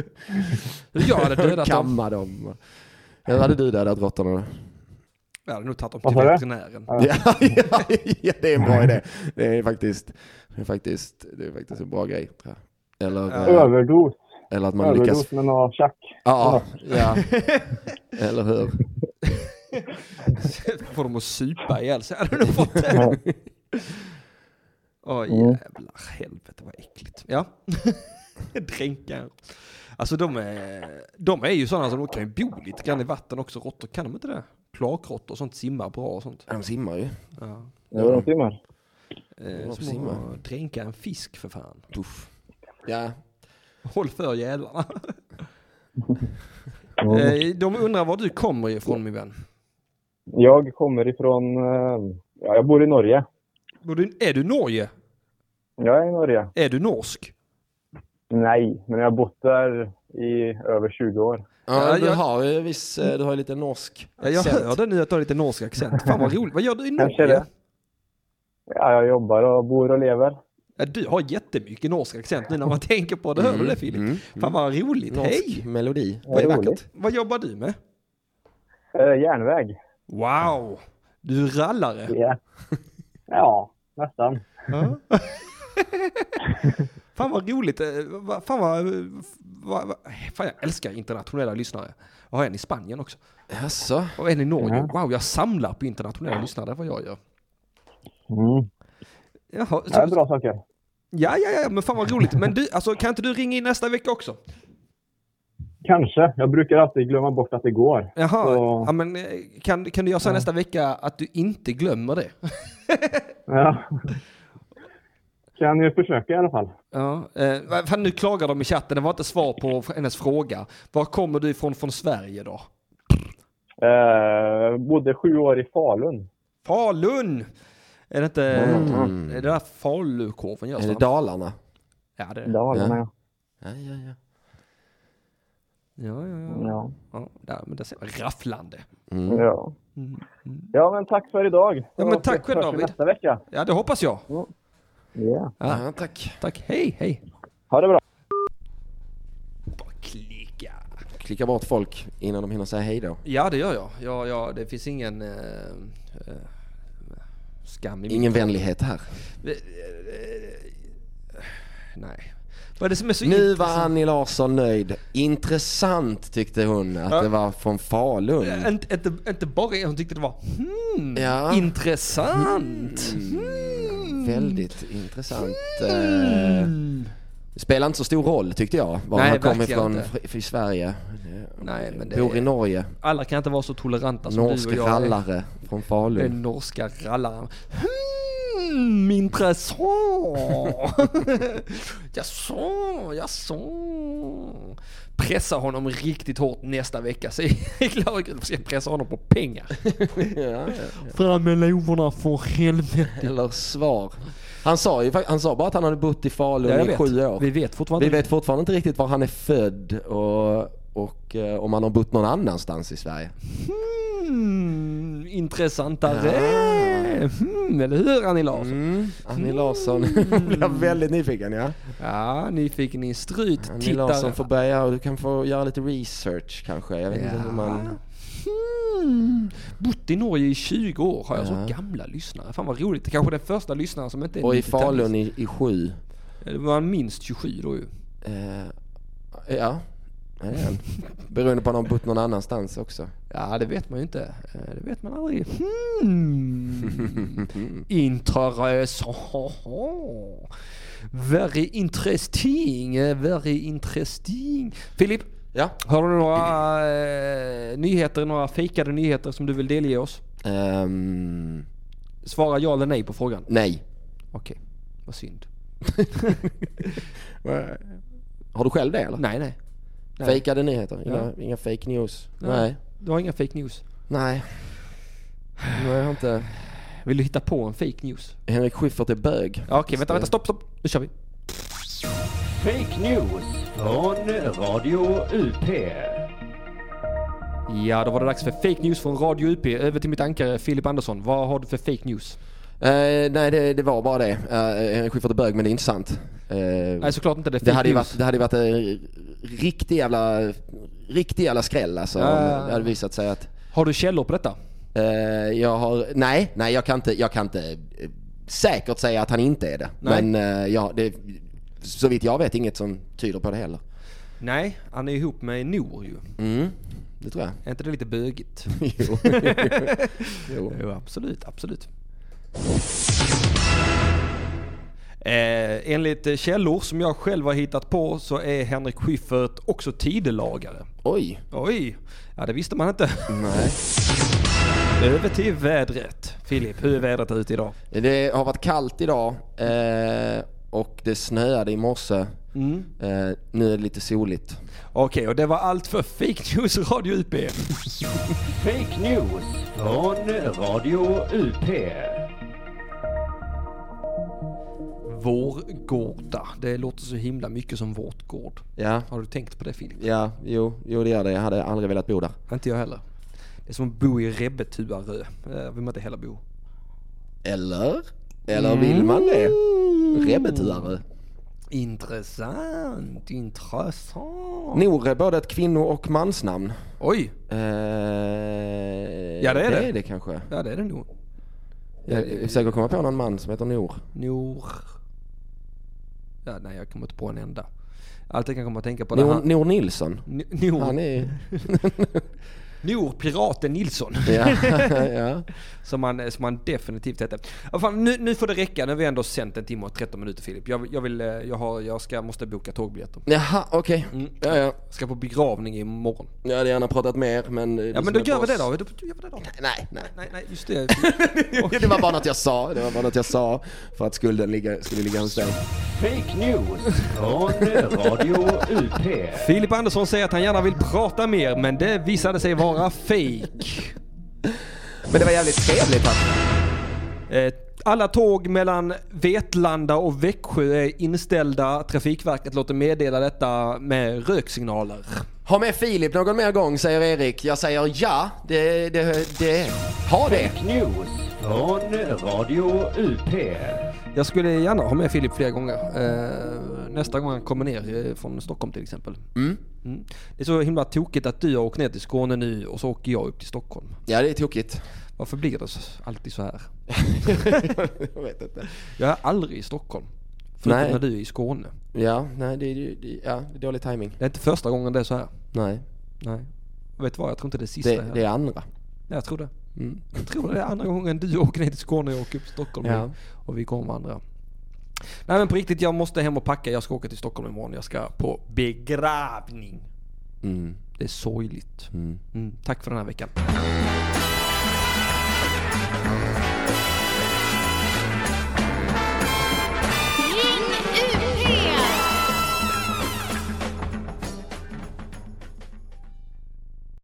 Speaker 1: Jag hade dödat dem.
Speaker 3: Kamma dem. Hur hade du dödat råttorna då?
Speaker 1: Jag hade nog tagit dem
Speaker 10: Vad
Speaker 1: till
Speaker 10: sa du?
Speaker 1: veterinären.
Speaker 3: Ja, (laughs) ja, ja, det är en bra idé. Det är faktiskt, det är faktiskt, det är faktiskt en bra grej. tror jag. Eller, eh,
Speaker 10: Överdos.
Speaker 3: eller att man lyckas...
Speaker 10: Överdos med några tjack.
Speaker 3: Ja, ja.
Speaker 1: (laughs)
Speaker 3: Eller hur?
Speaker 1: Få dem att supa ihjäl sig. Hade du fått det?
Speaker 10: Ja.
Speaker 1: Åh
Speaker 3: Mm.
Speaker 1: jävlar, helvete vad äckligt. Ja. (laughs) Dränkar. Alltså de är, de är ju sådana som de kan ju bo lite grann i vatten också, råttor. Kan de inte det? Kloakrottor och sånt simmar bra och sånt.
Speaker 3: De simmar ju.
Speaker 1: Ja.
Speaker 10: Ja, de simmar.
Speaker 1: Eh,
Speaker 3: de
Speaker 1: som
Speaker 3: simmar.
Speaker 1: att dränka en fisk för fan.
Speaker 3: Puff. Ja,
Speaker 1: Håll för
Speaker 3: (laughs)
Speaker 1: jävlarna.
Speaker 10: Mm.
Speaker 1: Eh, de undrar var du kommer ifrån min vän.
Speaker 10: Jag kommer ifrån... eh, Ja, jag bor i Norge.
Speaker 1: Bor du- Är du Norge?
Speaker 10: Jag är i Norge.
Speaker 1: Är du norsk?
Speaker 10: Nej, men jag har bott där i över 20 år.
Speaker 3: ja,
Speaker 1: Ja,
Speaker 3: du
Speaker 1: jag-
Speaker 3: har ju viss, eh, du har ju lite norsk
Speaker 1: Ja, jag
Speaker 3: accent.
Speaker 1: hörde nu att du har lite norsk accent. Fan vad roligt. Vad gör du i
Speaker 10: Kanske
Speaker 1: Norge?
Speaker 10: det. Ja, jag jobbar och bor och lever.
Speaker 1: Ja, du har jättemycket norsk accent nu när man tänker på det. Hör du det Filip?
Speaker 3: mm,
Speaker 1: Fan vad roligt.
Speaker 3: norsk
Speaker 1: Hej!
Speaker 3: melodi.
Speaker 10: Vad
Speaker 1: är
Speaker 10: roligt.
Speaker 1: vackert. Vad jobbar du med?
Speaker 10: Eh, järnväg.
Speaker 1: Wow! Du är rallare.
Speaker 10: Ja. ja, nästan.
Speaker 1: Ja. fan vad roligt. Eh, va- Fan vad, vad, vad... Fan jag älskar internationella lyssnare. Jag har en i Spanien också.
Speaker 3: Jaså?
Speaker 1: Och en i Norge. Wow, jag samlar på internationella lyssnare. Det är vad jag gör.
Speaker 10: Mm.
Speaker 1: Jaha,
Speaker 10: Det är
Speaker 1: så,
Speaker 10: bra saker.
Speaker 1: ja, ja, ja, men fan vad roligt. Men du, alltså, kan inte du ringa in nästa vecka också?
Speaker 10: Kanske. Jag brukar alltid glömma bort att det går.
Speaker 1: Jaha,
Speaker 10: Så-
Speaker 1: ja, men eh, kan, kan du göra så här nästa vecka att du inte glömmer det?
Speaker 10: Ja. Kan ju försöka i alla fall.
Speaker 1: Ja, eh, vad fan, nu klagar de i chatten, det var inte svar på f- hennes fråga. Var kommer du ifrån från Sverige då?
Speaker 10: Eh, bodde sju år i Falun.
Speaker 1: Falun! Är det inte är det där falukorven görs?
Speaker 3: Är det
Speaker 1: va?
Speaker 3: Dalarna?
Speaker 1: Ja, det är det.
Speaker 10: Dalarna, ja.
Speaker 3: Ja, ja, ja.
Speaker 1: Ja, ja, ja.
Speaker 10: Ja.
Speaker 1: ja där, men där ser man rafflande.
Speaker 10: Ja. ja, men tack för idag.
Speaker 1: Ja, men tack själv,
Speaker 10: Hörs vi
Speaker 1: David.
Speaker 10: nästa vecka.
Speaker 1: Ja, det hoppas jag.
Speaker 10: Ja.
Speaker 1: Ja.
Speaker 3: Ja, tack.
Speaker 1: Tack, hej, hej.
Speaker 10: Ha det bra.
Speaker 1: Bara klicka.
Speaker 3: Klicka bort folk innan de hinner säga hej då.
Speaker 1: Ja, det gör jag. Ja, ja, det finns ingen eh, eh, skam i
Speaker 3: Ingen vänlighet här.
Speaker 1: Nej. Vad är det som är så
Speaker 3: Nu var
Speaker 1: intressant?
Speaker 3: Annie Larsson nöjd. Intressant tyckte hon att
Speaker 1: Ja.
Speaker 3: det var från Falun.
Speaker 1: Inte, inte, inte bara hon tyckte det var hmm,
Speaker 3: Ja. Mm.
Speaker 1: intressant.
Speaker 3: Väldigt intressant. Mm.
Speaker 1: Mm.
Speaker 3: Spelar inte så stor roll tyckte jag. Var
Speaker 1: Nej,
Speaker 3: han kom
Speaker 1: verkligen
Speaker 3: ifrån
Speaker 1: inte.
Speaker 3: fr- i Sverige. Eh,
Speaker 1: Nej, men det
Speaker 3: Bor i
Speaker 1: är,
Speaker 3: Norge.
Speaker 1: alla kan inte vara så toleranta som
Speaker 3: Norsk
Speaker 1: du och jag är.
Speaker 3: rallare från
Speaker 1: Den
Speaker 3: Falun.
Speaker 1: norska rallaren. Hmm, (laughs) intressant. jaså, jaså. Pressa honom riktigt hårt nästa vecka. Så Lagergren ska pressa honom på pengar.
Speaker 3: Ja, ja.
Speaker 1: Fram med lovorna för helvete.
Speaker 3: Eller svar. Han sa, ju, fakt- han sa bara att han hade bott i Falun
Speaker 1: Ja, jag
Speaker 3: i
Speaker 1: vet.
Speaker 3: sju år.
Speaker 1: Vi vet fortfarande
Speaker 3: Vi vet fortfarande inte riktigt var han är född och, och eh, om han har bott någon annanstans i Sverige.
Speaker 1: Hmm, intressantare. Hmm, eller hur Annie Larsson?
Speaker 3: Mm. Annie Larsson
Speaker 1: Mm.
Speaker 3: (laughs) blev väldigt nyfiken ja.
Speaker 1: Ja, nyfiken i strut.
Speaker 3: Annie
Speaker 1: Tittare.
Speaker 3: Larsson får börja och du kan få göra lite research kanske. Jag vet inte hur man...
Speaker 1: Hmm. Bott i Norge i 20 år. Har jag så
Speaker 3: Ja.
Speaker 1: gamla lyssnare? Fan vad roligt. Det kanske är den första lyssnaren som inte är
Speaker 3: Och i
Speaker 1: 90-talist.
Speaker 3: Falun i, i sju.
Speaker 1: Det var minst 27 då ju.
Speaker 3: Eh, ja, det är han. Beroende på om han har bott någon
Speaker 1: (laughs)
Speaker 3: annanstans också.
Speaker 1: Ja, det vet man ju inte. Eh, Det vet man aldrig.
Speaker 3: (laughs)
Speaker 1: Hmm. Intressant. Very interesting. eh, Very interesting. Filip,
Speaker 3: Ja.
Speaker 1: har du några eh, nyheter, några fejkade nyheter som du vill delge oss?
Speaker 3: Ehm,
Speaker 1: Svara ja eller nej på frågan.
Speaker 3: nej.
Speaker 1: Okej, vad synd.
Speaker 3: Har du själv det eller?
Speaker 1: Nej, nej. nej.
Speaker 3: Fejkade nyheter? Inga,
Speaker 1: Ja.
Speaker 3: inga fake news?
Speaker 1: Nej.
Speaker 3: Nej.
Speaker 1: Du har inga fake news.
Speaker 3: Nej. Nej, jag har inte.
Speaker 1: Vill du hitta på en fake news?
Speaker 3: Henrik Schyffert är bög.
Speaker 1: Ja, Okej, vänta, vänta, stopp, stopp. Nu kör vi.
Speaker 11: Fake news från Radio UP.
Speaker 1: Ja, då var det dags för fake news från Radio UP. Över till mitt ankare Filip Andersson. Vad har du för fake news?
Speaker 3: Eh, nej, det, det var bara det. Eh, Henrik Schyffert är bög, men det är inte sant. Eh,
Speaker 1: Nej, såklart inte det är fake
Speaker 3: det, hade ju
Speaker 1: news.
Speaker 3: varit, det hade ju varit en riktig jävla, riktig jävla skräll alltså.
Speaker 1: Ja, ja, ja.
Speaker 3: Om det hade visat sig att...
Speaker 1: Har du källor på detta?
Speaker 3: eh, jag har... Nej, nej jag kan inte, jag kan inte eh, säkert säga att han inte är det.
Speaker 1: Nej.
Speaker 3: Men eh, ja, det, så vitt jag vet inget som tyder på det heller.
Speaker 1: Nej, han är ihop med Noor ju.
Speaker 3: Mm, det tror jag. (laughs)
Speaker 1: Är inte det lite bögigt?
Speaker 3: jo. jo.
Speaker 1: Jo, absolut, absolut. Eh, enligt eh, källor som jag själv har hittat på så är Henrik Schyffert också tidelagare.
Speaker 3: Oj.
Speaker 1: Oj, ja det visste man inte.
Speaker 3: Nej.
Speaker 1: Över till vädret. Filip, hur är vädret ute idag?
Speaker 3: Det har varit kallt idag eh, och det snöade i morse.
Speaker 1: Mm.
Speaker 3: Eh, nu är det lite soligt.
Speaker 1: Okej, och det var allt för Fake News Radio UP.
Speaker 11: (laughs) Fake news från Radio UP.
Speaker 1: Vårgårda. Det låter så himla mycket som vårt gård.
Speaker 3: Ja,
Speaker 1: Har du tänkt på det Filip?
Speaker 3: ja jo, jo det gör det. Jag hade aldrig velat bo där.
Speaker 1: Inte jag heller. Det är som att bo i Rebbetuarö. Där vill man inte heller bo.
Speaker 3: Eller? Eller vill man det? Rebbetuarö.
Speaker 1: Intressant, intressant.
Speaker 3: Nor är både ett kvinno och mansnamn.
Speaker 1: Oj!
Speaker 3: Eh,
Speaker 1: Ja, det är
Speaker 3: det
Speaker 1: det.
Speaker 3: är det kanske.
Speaker 1: Ja det är det nog.
Speaker 3: Jag försöker komma på någon man som heter Nor.
Speaker 1: Nor... Ja, nej, jag kommer inte på en enda. Allt jag kan komma att tänka på det
Speaker 3: Nor,
Speaker 1: här...
Speaker 3: Nor Nilsson.
Speaker 1: N- Nor,
Speaker 3: Han är...
Speaker 1: (laughs) Nor Piraten Nilsson.
Speaker 3: ja, (laughs) ja.
Speaker 1: (laughs) Som han, som han definitivt hette. Ja, fan, nu, nu får det räcka. Nu har vi ändå sänt en timme och 13 minuter Filip. Jag, vill- jag, vill, eh, jag, har, jag ska, måste boka tågbiljetter.
Speaker 3: Jaha, okej.
Speaker 1: Mm.
Speaker 3: Ja, ja.
Speaker 1: Ska på begravning imorgon.
Speaker 3: Jag hade gärna pratat mer men...
Speaker 1: Ja men då gör vi det då. Då gör vi det då.
Speaker 3: Nej, nej.
Speaker 1: Nej, nej, just det.
Speaker 3: Det var bara något jag sa. Det var bara något jag sa för att skulden ligga, skulle ligga hos dig.
Speaker 11: Fake news från Radio UP.
Speaker 1: Filip Andersson säger att han gärna vill prata mer, men det visade sig vara fake.
Speaker 3: Men det var jävligt trevligt. Tack.
Speaker 1: Eh, Alla tåg mellan Vetlanda och Växjö är inställda. Trafikverket låter meddela detta med röksignaler.
Speaker 3: Ha med Filip någon mer gång säger Erik. Jag säger ja. Det, det, det. Ha det.
Speaker 11: Fake news från Radio UP.
Speaker 1: Jag skulle gärna ha med Filip fler gånger. Eh, Nästa gång han kommer ner eh, från Stockholm till exempel. Mm. Det är så himla tokigt att du har åkt ner till Skåne nu och så åker jag upp till Stockholm.
Speaker 3: Ja, det är tokigt.
Speaker 1: Varför blir det så- alltid så här?
Speaker 3: (laughs) jag vet inte.
Speaker 1: Jag är aldrig i Stockholm. Förutom
Speaker 3: Nej.
Speaker 1: när du är i Skåne.
Speaker 3: Ja, nej, det, är ju- det, ja, det är dålig timing.
Speaker 1: Det är inte första gången det är så här.
Speaker 3: Nej,
Speaker 1: Nej. Vet du vad? Jag tror inte det är sista.
Speaker 3: det,
Speaker 1: här.
Speaker 3: det är andra.
Speaker 1: Nej, jag tror det.
Speaker 3: Mm.
Speaker 1: Jag tror det är andra gången du (laughs) åker ner till Skåne och jag åker upp till Stockholm.
Speaker 3: Ja.
Speaker 1: Och vi kommer med andra. Nej men på riktigt, jag måste hem och packa. Jag ska åka till Stockholm imorgon. Jag ska på begravning.
Speaker 3: Mm.
Speaker 1: Det är sorgligt.
Speaker 3: Mm.
Speaker 1: Mm, tack för den här veckan.